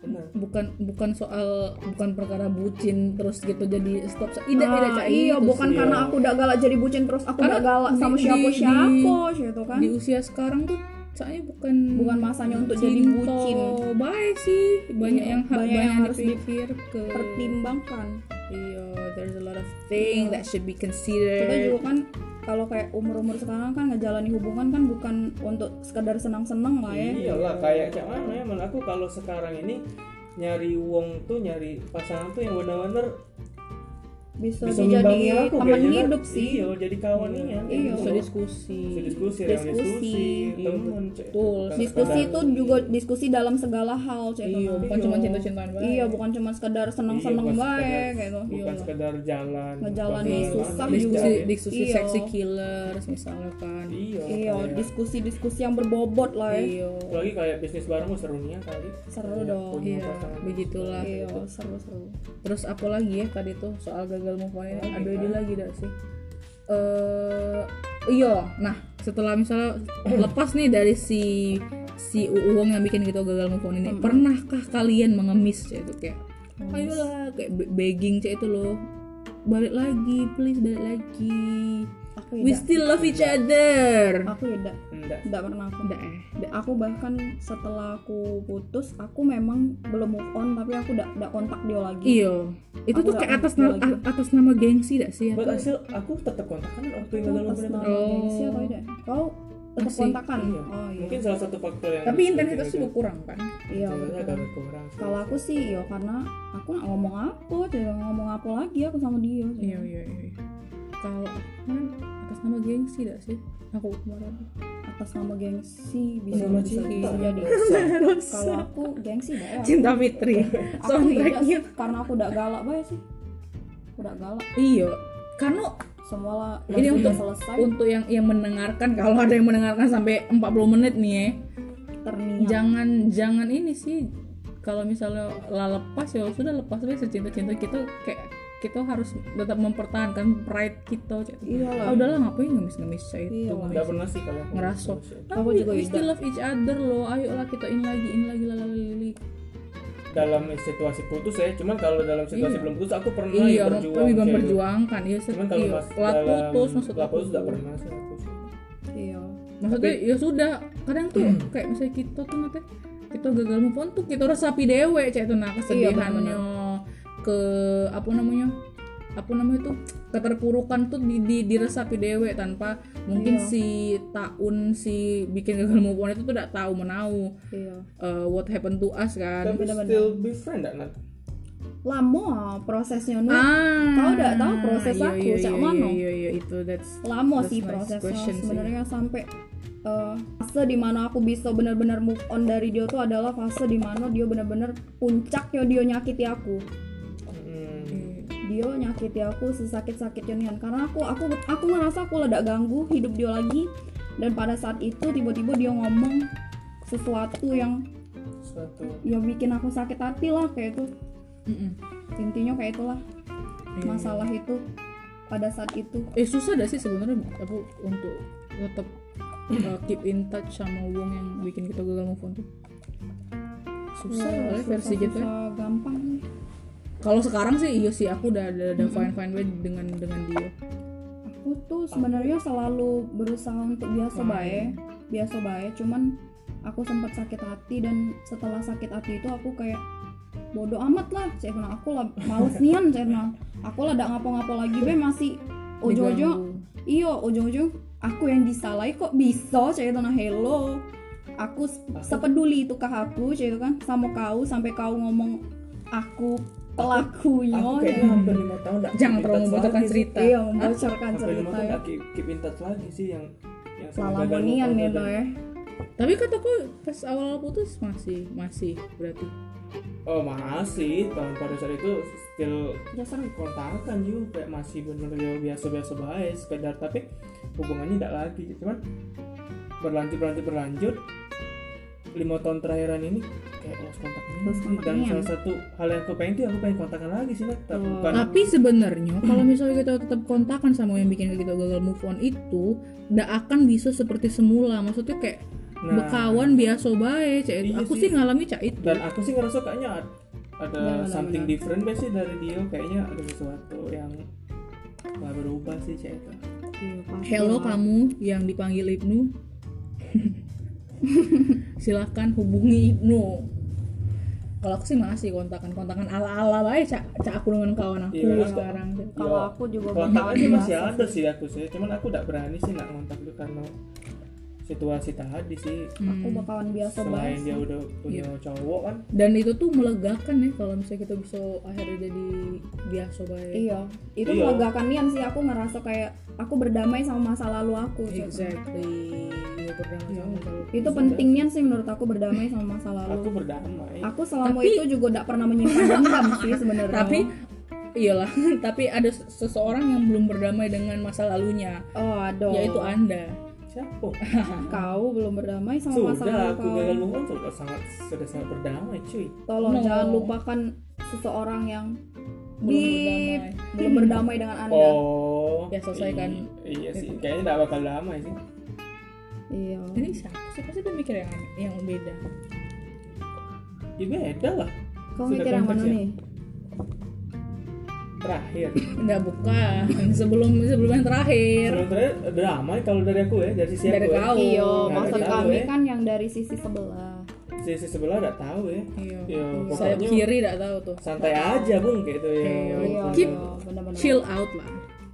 [SPEAKER 2] bener
[SPEAKER 1] bukan bukan soal bukan perkara bucin terus gitu jadi stop tidak tidak
[SPEAKER 3] Ah,
[SPEAKER 1] Cak.
[SPEAKER 3] iya,
[SPEAKER 1] Itu
[SPEAKER 3] bukan
[SPEAKER 2] sih.
[SPEAKER 3] karena aku dak galak jadi bucin terus aku
[SPEAKER 1] Karena
[SPEAKER 3] dak galak
[SPEAKER 1] di-
[SPEAKER 3] sama
[SPEAKER 1] di-
[SPEAKER 3] siapa-siapa, gitu kan.
[SPEAKER 1] di usia sekarang tuh saya bukan
[SPEAKER 3] Bukan masanya untuk jadi
[SPEAKER 1] cinta.
[SPEAKER 3] bucin.
[SPEAKER 1] baik sih banyak
[SPEAKER 3] Iya,
[SPEAKER 1] yang ha-
[SPEAKER 3] banyak
[SPEAKER 1] banyak
[SPEAKER 3] yang
[SPEAKER 1] yang
[SPEAKER 3] harus
[SPEAKER 1] dipikir ke
[SPEAKER 3] Pertimbangkan.
[SPEAKER 1] iya there's a lot of thing that should be considered
[SPEAKER 3] Kita juga kan kalau kayak umur-umur sekarang kan ngejalani hubungan kan bukan untuk sekedar senang-senang lah ya.
[SPEAKER 2] iyalah Iya kayak cak mana ya malah aku kalau sekarang ini nyari wong tuh nyari pasangan tuh yang bener-bener
[SPEAKER 3] bisa,
[SPEAKER 2] bisa
[SPEAKER 3] dijadi
[SPEAKER 2] ngembangin aku
[SPEAKER 3] teman
[SPEAKER 2] kayaknya kan.
[SPEAKER 3] hidup sih
[SPEAKER 2] iya jadi kawannya
[SPEAKER 3] Iya.
[SPEAKER 1] bisa diskusi
[SPEAKER 2] bisa diskusi diskusi,
[SPEAKER 3] Diskusi.
[SPEAKER 2] diskusi
[SPEAKER 1] Iya,
[SPEAKER 2] teman
[SPEAKER 1] betul.
[SPEAKER 2] tentang
[SPEAKER 3] diskusi
[SPEAKER 2] sekarang.
[SPEAKER 3] itu juga diskusi dalam segala hal cek
[SPEAKER 1] iya bukan
[SPEAKER 2] Iya.
[SPEAKER 1] cuma cinta-cintaan banget
[SPEAKER 3] iya bukan cuma sekedar seneng seneng
[SPEAKER 2] Iya, bukan
[SPEAKER 3] baik
[SPEAKER 2] sekedar-
[SPEAKER 3] gitu
[SPEAKER 2] bukan
[SPEAKER 1] Iya.
[SPEAKER 2] sekedar jalan
[SPEAKER 3] Ngejalanin
[SPEAKER 2] bukan jalan,
[SPEAKER 3] susah
[SPEAKER 2] iya.
[SPEAKER 1] diskusi diskusi
[SPEAKER 3] Iya.
[SPEAKER 1] seksi killers misalnya kan
[SPEAKER 2] iya
[SPEAKER 3] iya
[SPEAKER 2] kayak-
[SPEAKER 3] diskusi diskusi yang berbobot lah ya.
[SPEAKER 1] iya
[SPEAKER 2] lagi kayak bisnis bareng mah serunya kali
[SPEAKER 3] Seru
[SPEAKER 2] Kayak gitu.
[SPEAKER 3] dong,
[SPEAKER 2] punya
[SPEAKER 1] iya
[SPEAKER 2] pasangan.
[SPEAKER 1] begitulah
[SPEAKER 3] iya seru seru
[SPEAKER 1] terus apa lagi ya tadi tuh soal gagal move on ini
[SPEAKER 2] Lagi
[SPEAKER 1] ada
[SPEAKER 2] kan?
[SPEAKER 1] dia lagi gak sih eh iya nah setelah misalnya lepas nih dari si si uang yang bikin gitu gagal move on ini pernahkah kalian mengemis ya itu kayak ayolah kayak be- begging cek itu loh balik lagi please balik lagi
[SPEAKER 3] aku
[SPEAKER 1] we
[SPEAKER 3] tidak
[SPEAKER 1] still love each other
[SPEAKER 3] aku tidak
[SPEAKER 2] enggak
[SPEAKER 3] tidak pernah aku
[SPEAKER 1] udah eh
[SPEAKER 3] Da- aku bahkan setelah aku putus aku memang belum move on tapi aku udah udah kontak dia lagi
[SPEAKER 1] iyo Iya. itu
[SPEAKER 3] Aku
[SPEAKER 1] tuh
[SPEAKER 3] nggak
[SPEAKER 1] kayak atas
[SPEAKER 3] ngerti
[SPEAKER 1] nama,
[SPEAKER 3] lagi.
[SPEAKER 1] atas nama gengsi gak
[SPEAKER 3] Iya,
[SPEAKER 1] sih
[SPEAKER 2] buat
[SPEAKER 1] atau
[SPEAKER 2] hasil aku tetap kontakan waktu yang
[SPEAKER 3] itu
[SPEAKER 2] dalam
[SPEAKER 3] Iya, pas
[SPEAKER 2] berenang
[SPEAKER 3] nama
[SPEAKER 1] Oh.
[SPEAKER 3] gengsi atau tidak kau tetap
[SPEAKER 1] Masih.
[SPEAKER 3] kontakan
[SPEAKER 2] Iya.
[SPEAKER 3] oh iya
[SPEAKER 2] mungkin salah satu faktor yang
[SPEAKER 1] tapi intensitas juga kurang kan
[SPEAKER 3] iya
[SPEAKER 2] Sebenarnya
[SPEAKER 3] betul.
[SPEAKER 2] agak berkurang sih.
[SPEAKER 3] kalau aku sih iya karena aku nggak ngomong apa tidak ngomong apa lagi aku sama dia
[SPEAKER 1] Iya iya iya. iya. Kalau kan atas nama gengsi tidak sih? Aku kemarin.
[SPEAKER 3] atas nama gengsi bisa
[SPEAKER 2] Sama
[SPEAKER 3] bisa, iya,
[SPEAKER 2] cinta.
[SPEAKER 3] bisa jadi kalau
[SPEAKER 1] Rosa.
[SPEAKER 3] aku gengsi dah ya
[SPEAKER 1] Cinta Fitri.
[SPEAKER 3] aku tidak sih,
[SPEAKER 1] Soundtracknya.
[SPEAKER 3] karena aku udah galak bae sih aku udah galak
[SPEAKER 1] Iya. Karena
[SPEAKER 3] semua lah
[SPEAKER 1] Ini
[SPEAKER 3] udah
[SPEAKER 1] untuk-
[SPEAKER 3] selesai
[SPEAKER 1] untuk yang yang mendengarkan kalau ada yang mendengarkan sampai 40 menit nih ya,
[SPEAKER 3] terniat
[SPEAKER 1] jangan jangan ini sih kalau misalnya lah lepas ya sudah lepas aja secinta-cinta kita kayak kita harus tetap mempertahankan pride kita. Cak.
[SPEAKER 3] iya lah
[SPEAKER 1] Ah udahlah ngapain ngemis-ngemis Cak, itu.
[SPEAKER 3] Iya lah.
[SPEAKER 2] nggak pernah sih kalau aku
[SPEAKER 1] Ngerasuk.
[SPEAKER 3] Aku
[SPEAKER 1] Tapi
[SPEAKER 3] juga
[SPEAKER 1] we still
[SPEAKER 3] tidak.
[SPEAKER 1] love each other loh. Ayolah kita in lagi, in lagi lalalili.
[SPEAKER 2] dalam situasi putus ya cuman kalau dalam
[SPEAKER 1] Iya.
[SPEAKER 2] situasi belum putus aku pernah
[SPEAKER 1] iya
[SPEAKER 2] ya berjuang
[SPEAKER 1] lebih
[SPEAKER 2] kayak gitu.
[SPEAKER 1] memperjuangkan iya se-
[SPEAKER 2] cuman kalau
[SPEAKER 1] iya.
[SPEAKER 2] mas
[SPEAKER 1] Telat
[SPEAKER 2] dalam
[SPEAKER 1] putus maksud
[SPEAKER 2] telat
[SPEAKER 1] aku
[SPEAKER 2] putus nggak pernah sih aku sih.
[SPEAKER 3] iya
[SPEAKER 1] maksudnya ya sudah kadang tuh kayak misalnya kita tuh nanti kita gagal move on tuh kita resapi dewe cah itu nah kesedihannya ke apa namanya apa namanya tuh keterpurukan tuh di, di diresapi dewe tanpa mungkin
[SPEAKER 3] Iya.
[SPEAKER 1] si tahun si bikin gagal move on itu tuh tidak tahu menau
[SPEAKER 3] iya
[SPEAKER 1] eh, what happened to us kan
[SPEAKER 2] tapi
[SPEAKER 3] Bener-bener.
[SPEAKER 2] still be friend nggak Nat?
[SPEAKER 3] lama prosesnya nu
[SPEAKER 1] ah
[SPEAKER 3] Kau udah tahu proses
[SPEAKER 1] iya,
[SPEAKER 3] aku,
[SPEAKER 1] iya,
[SPEAKER 3] cak
[SPEAKER 1] iya,
[SPEAKER 3] mano.
[SPEAKER 1] iya, iya, itu that's
[SPEAKER 3] lama
[SPEAKER 1] That's
[SPEAKER 3] sih
[SPEAKER 1] nice
[SPEAKER 3] prosesnya
[SPEAKER 1] question sih.
[SPEAKER 3] sebenarnya sampai eh, fase dimana aku bisa benar-benar move on dari dia tuh adalah fase dimana dia benar-benar puncaknya dia nyakiti aku
[SPEAKER 2] Hmm.
[SPEAKER 3] dia nyakiti aku sesakit-sakitnya Nian. karena aku aku aku ngerasa aku ledak ganggu hidup dia lagi dan pada saat itu tiba-tiba dia ngomong sesuatu yang
[SPEAKER 2] suatu
[SPEAKER 3] yang bikin aku sakit hati lah kayak itu
[SPEAKER 1] Mm-mm.
[SPEAKER 3] intinya kayak itulah
[SPEAKER 1] Iya.
[SPEAKER 3] masalah itu pada saat itu
[SPEAKER 1] eh susah gak sih sebenarnya aku untuk tetap uh, keep in touch sama wong yang bikin kita gagal move on tuh susah
[SPEAKER 3] Wah,
[SPEAKER 1] kali versi kita ya.
[SPEAKER 3] Iya, susah, gampang nih.
[SPEAKER 1] kalau sekarang sih iya sih aku udah udah, udah fine fine way dengan dengan dia
[SPEAKER 3] aku tuh sebenarnya selalu berusaha untuk biasa
[SPEAKER 2] Hmm.
[SPEAKER 1] Fine.
[SPEAKER 3] baik biasa baik cuman aku sempat sakit hati dan setelah sakit hati itu aku kayak bodoh amat lah cek nah, aku lah males nian cek nah. aku lah gak ngapa-ngapa lagi be masih Oh, ojo-ojo
[SPEAKER 1] Diganggu.
[SPEAKER 3] iyo ojo-ojo aku yang disalahi kok bisa cek itu nah hello aku s- sepeduli itu ke aku cek itu kan sama kau sampai kau ngomong aku pelakunya
[SPEAKER 2] aku
[SPEAKER 3] cek.
[SPEAKER 2] kayaknya hampir lima tahun nggak
[SPEAKER 1] jangan
[SPEAKER 2] keep in
[SPEAKER 1] terlalu
[SPEAKER 2] touch
[SPEAKER 1] membocorkan
[SPEAKER 2] lagi sih.
[SPEAKER 1] cerita
[SPEAKER 3] iya membocorkan
[SPEAKER 2] hampir lima
[SPEAKER 3] cerita
[SPEAKER 2] tahun
[SPEAKER 3] ya.
[SPEAKER 2] nggak keep, keep in touch lagi sih yang yang sama gagal Iya,
[SPEAKER 3] Lalamonian
[SPEAKER 2] move on
[SPEAKER 3] ya
[SPEAKER 2] tadi.
[SPEAKER 3] lo ya
[SPEAKER 1] tapi kataku pas awal putus masih masih berarti
[SPEAKER 2] oh masih tahun pada saat itu still
[SPEAKER 3] Ya seru
[SPEAKER 2] kontakan juga kayak masih bener-bener ya biasa-biasa baik sekedar tapi hubungannya tidak lagi cuman berlanjut berlanjut berlanjut lima tahun terakhiran ini kayak lost kontak ini
[SPEAKER 3] Lost
[SPEAKER 2] sih.
[SPEAKER 3] kontak
[SPEAKER 2] dan
[SPEAKER 3] ini ya.
[SPEAKER 2] salah satu hal yang aku pengen tuh aku pengen kontakan lagi sih Nat. tapi
[SPEAKER 3] Oh.
[SPEAKER 2] bukan
[SPEAKER 1] tapi sebenarnya kalau misalnya kita tetap kontakan sama yang bikin kita gagal move on itu tidak akan bisa seperti semula maksudnya kayak
[SPEAKER 2] Nah.
[SPEAKER 1] bekawan biasa baik cak itu
[SPEAKER 2] Iya
[SPEAKER 1] aku
[SPEAKER 2] sih.
[SPEAKER 1] sih ngalami cak itu
[SPEAKER 2] dan aku sih ngerasa kayaknya ad- ada
[SPEAKER 3] Benar, benar,
[SPEAKER 2] something
[SPEAKER 3] benar.
[SPEAKER 2] different deh sih dari dia kayaknya ada sesuatu yang nggak berubah sih cek itu
[SPEAKER 1] Hello
[SPEAKER 3] Iya.
[SPEAKER 1] kamu yang dipanggil Ibnu. Silahkan hubungi Ibnu. Kalau aku sih masih kontakan kontakan ala-ala lah cak cak aku dengan kawan aku
[SPEAKER 2] Iya,
[SPEAKER 1] sekarang.
[SPEAKER 3] Kalau
[SPEAKER 2] Ya,
[SPEAKER 3] aku juga
[SPEAKER 2] kontaknya
[SPEAKER 3] berharap
[SPEAKER 2] masih ya?
[SPEAKER 3] biasa
[SPEAKER 2] ada sih aku sih cuman aku nggak berani sih nak kontak dia karena situasi tadi sih
[SPEAKER 3] aku bakalan Hmm. biasa
[SPEAKER 2] selain
[SPEAKER 3] banget Iya.
[SPEAKER 2] dia udah punya cowok kan
[SPEAKER 1] dan itu tuh melegakan ya kalau misalnya kita bisa akhirnya jadi biasa baik
[SPEAKER 3] iya itu
[SPEAKER 2] Iya.
[SPEAKER 3] melegakan nian sih aku ngerasa kayak aku berdamai sama masa lalu aku Cok.
[SPEAKER 1] exactly Iya, berdamai sama kalau-
[SPEAKER 3] itu penting nian sih menurut aku berdamai sama masa
[SPEAKER 2] aku
[SPEAKER 3] lalu
[SPEAKER 2] berdamai
[SPEAKER 3] aku selama itu juga tidak pernah menyimpan dendam sih sebenarnya
[SPEAKER 1] tapi iyalah tapi ada seseorang yang belum berdamai dengan masa lalunya
[SPEAKER 3] oh aduh
[SPEAKER 1] yaitu anda
[SPEAKER 2] siapa Eh,
[SPEAKER 3] kau belum berdamai sama masa lalu
[SPEAKER 2] sudah aku
[SPEAKER 3] kau
[SPEAKER 2] gagal move on sudah sangat sudah sangat berdamai cuy
[SPEAKER 3] tolong
[SPEAKER 1] No.
[SPEAKER 3] jangan lupakan seseorang yang
[SPEAKER 1] Belum
[SPEAKER 3] di
[SPEAKER 1] berdamai.
[SPEAKER 3] belum berdamai dengan anda
[SPEAKER 2] oh
[SPEAKER 1] Ya, selesaikan.
[SPEAKER 2] i- iya sih kayaknya tidak bakal damai sih
[SPEAKER 3] iya
[SPEAKER 1] ini siapa sih pasti dia mikir yang yang beda
[SPEAKER 2] ya beda lah
[SPEAKER 3] kau
[SPEAKER 2] Sudah
[SPEAKER 3] mikir yang mana
[SPEAKER 2] konteks ya?
[SPEAKER 3] nih
[SPEAKER 2] terakhir
[SPEAKER 1] enggak bukan sebelum sebelum yang terakhir
[SPEAKER 2] sebenarnya eh, damai kalau dari aku ya dari sisi
[SPEAKER 1] Dari
[SPEAKER 2] aku
[SPEAKER 1] kau.
[SPEAKER 2] ya
[SPEAKER 3] Iya,
[SPEAKER 1] Nggak
[SPEAKER 3] maksud
[SPEAKER 2] ada
[SPEAKER 3] kami
[SPEAKER 2] tahu ya.
[SPEAKER 3] kan yang dari sisi sebelah.
[SPEAKER 2] sisi sebelah tidak tahu ya
[SPEAKER 1] iya
[SPEAKER 2] Iya,
[SPEAKER 1] sayap
[SPEAKER 2] pokoknya
[SPEAKER 1] kiri tidak tahu tuh
[SPEAKER 2] santai aja bung kayak itu ya
[SPEAKER 1] Iya,
[SPEAKER 3] Iya,
[SPEAKER 1] Keep
[SPEAKER 3] iya, benar-benar.
[SPEAKER 1] chill out lah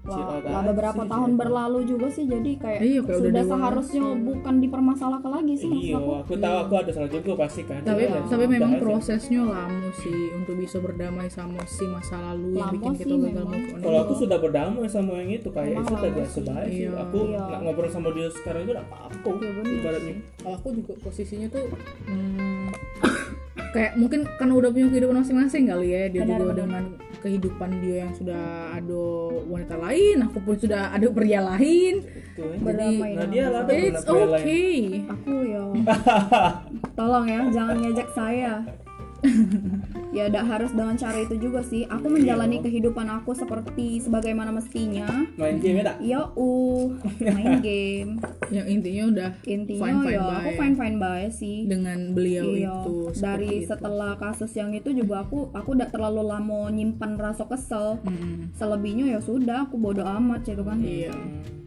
[SPEAKER 3] Wah,
[SPEAKER 2] chill out
[SPEAKER 3] lah
[SPEAKER 2] aja
[SPEAKER 3] beberapa
[SPEAKER 2] sih,
[SPEAKER 3] tahun
[SPEAKER 2] iya.
[SPEAKER 3] berlalu juga sih jadi kayak,
[SPEAKER 1] Iya, kayak udah
[SPEAKER 3] sudah
[SPEAKER 1] dewasa.
[SPEAKER 3] seharusnya bukan dipermasalahkan lagi sih maksud
[SPEAKER 2] Iya,
[SPEAKER 3] aku.
[SPEAKER 2] aku tahu aku ada salah juga pasti kan.
[SPEAKER 1] tapi
[SPEAKER 2] Iya.
[SPEAKER 1] tapi memang
[SPEAKER 2] Padahal sih,
[SPEAKER 1] prosesnya lama sih untuk bisa berdamai sama si masa lalu yang
[SPEAKER 3] Lama
[SPEAKER 1] bikin kita
[SPEAKER 3] sih
[SPEAKER 1] gagal
[SPEAKER 3] memang.
[SPEAKER 1] move on
[SPEAKER 2] Kalau aku sudah berdamai sama yang itu kayak
[SPEAKER 3] Emang
[SPEAKER 2] itu udah
[SPEAKER 3] lama
[SPEAKER 2] biasa
[SPEAKER 3] sih.
[SPEAKER 2] baik sih.
[SPEAKER 1] Iya.
[SPEAKER 2] Aku
[SPEAKER 3] Iya.
[SPEAKER 2] nggak ngobrol sama dia sekarang itu nggak apa-apa.
[SPEAKER 3] Iya, bener
[SPEAKER 2] Ibaratnya. gitu ya.
[SPEAKER 1] kalau aku juga posisinya tuh hmm, kayak mungkin karena udah punya kehidupan masing-masing kali ya dia
[SPEAKER 3] Benar,
[SPEAKER 1] juga
[SPEAKER 3] benar.
[SPEAKER 1] dengan kehidupan dia yang sudah ada wanita lain aku pun sudah ada pria lain
[SPEAKER 2] Itu ya.
[SPEAKER 3] Berdamai
[SPEAKER 2] Nah
[SPEAKER 3] dengan
[SPEAKER 2] dia lah
[SPEAKER 3] masalah.
[SPEAKER 2] ada
[SPEAKER 1] it's
[SPEAKER 2] pria lain.
[SPEAKER 1] okay
[SPEAKER 3] Aku ya. Tolong ya, jangan ngejek saya. ya tidak harus dengan cara itu juga sih. Aku menjalani kehidupan aku seperti sebagaimana mestinya.
[SPEAKER 2] Main game ya tak?
[SPEAKER 3] Ya uh, main game.
[SPEAKER 1] yang Ya, intinya udah
[SPEAKER 3] Intinya
[SPEAKER 1] Fine-fine
[SPEAKER 3] ya aku
[SPEAKER 1] bae.
[SPEAKER 3] fine-fine bae sih.
[SPEAKER 1] dengan beliau
[SPEAKER 3] Iya,
[SPEAKER 1] itu seperti
[SPEAKER 3] dari
[SPEAKER 1] itu.
[SPEAKER 3] setelah kasus yang itu juga aku aku udah terlalu lama nyimpan rasa kesel.
[SPEAKER 1] Mm-mm.
[SPEAKER 3] Selebihnya ya sudah aku bodo amat gitu kan.
[SPEAKER 1] iya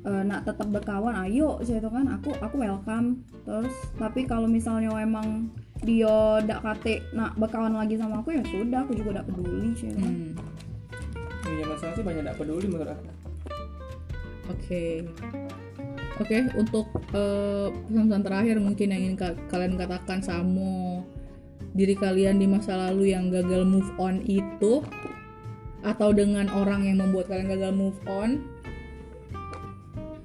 [SPEAKER 3] Eh, nak tetap berkawan ayo gitu kan aku aku welcome. Terus tapi kalau misalnya emang dia dak kate nak berkawan lagi sama aku ya sudah aku juga dak peduli gitu kan.
[SPEAKER 1] Mm.
[SPEAKER 2] Iya masing-masing banyak nggak peduli menurut aku.
[SPEAKER 1] Oke. Oke, untuk eh, pesan-pesan terakhir mungkin yang ingin ka- kalian katakan sama diri kalian di masa lalu yang gagal move on itu atau dengan orang yang membuat kalian gagal move on,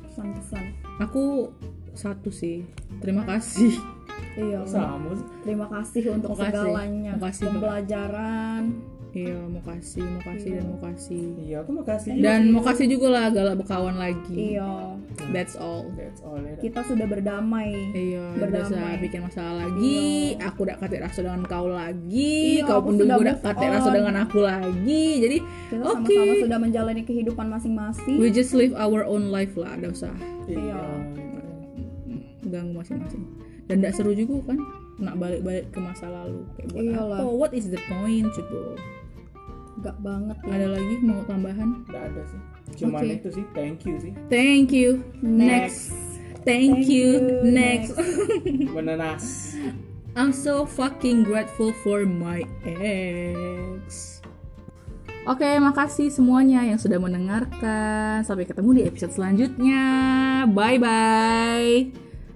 [SPEAKER 3] Pesan-pesan.
[SPEAKER 1] aku satu sih. Terima kasih.
[SPEAKER 3] Iya.
[SPEAKER 2] Sama sih.
[SPEAKER 3] Terima kasih untuk
[SPEAKER 1] Makasih.
[SPEAKER 3] segalanya.
[SPEAKER 1] Makasih, Mbak.
[SPEAKER 3] Pembelajaran.
[SPEAKER 1] Iya, mau kasih, mau kasih dan mau kasih.
[SPEAKER 2] Iya aku makasih.
[SPEAKER 1] Dan mau kasih juga lah galak berkawan lagi.
[SPEAKER 3] Iya.
[SPEAKER 1] That's all.
[SPEAKER 2] That's all
[SPEAKER 1] Gitu,
[SPEAKER 2] ya. Tak?
[SPEAKER 3] Kita sudah berdamai.
[SPEAKER 1] Iya,
[SPEAKER 3] Berdamai.
[SPEAKER 1] bisa bikin masalah lagi. Aku udah kate rasa dengan kau lagi.
[SPEAKER 3] Iya,
[SPEAKER 1] kau
[SPEAKER 3] aku
[SPEAKER 1] pun
[SPEAKER 3] sudah
[SPEAKER 1] juga udah
[SPEAKER 3] move
[SPEAKER 1] kate rasa
[SPEAKER 3] on.
[SPEAKER 1] dengan aku lagi. Jadi,
[SPEAKER 3] kita
[SPEAKER 1] oke.
[SPEAKER 3] sama-sama sudah menjalani kehidupan masing-masing
[SPEAKER 1] We just live our own life lah, ada usah
[SPEAKER 2] Iya.
[SPEAKER 1] ganggu masing-masing. Dan gak seru juga kan nak balik-balik ke masa lalu kayak buat
[SPEAKER 3] Iyalah.
[SPEAKER 1] apa? What is the point, coba?
[SPEAKER 3] gak banget ya
[SPEAKER 1] Ada lagi mau tambahan?
[SPEAKER 2] Nggak ada sih. Cuman
[SPEAKER 1] Oke.
[SPEAKER 2] itu sih. Thank you sih.
[SPEAKER 1] Thank you.
[SPEAKER 3] Next.
[SPEAKER 1] Next. Thank,
[SPEAKER 3] Thank
[SPEAKER 1] you.
[SPEAKER 3] you.
[SPEAKER 1] Next.
[SPEAKER 2] Menenas.
[SPEAKER 1] I'm so fucking grateful for my ex. Oke, makasih semuanya yang sudah mendengarkan. Sampai ketemu di episode selanjutnya. Bye bye.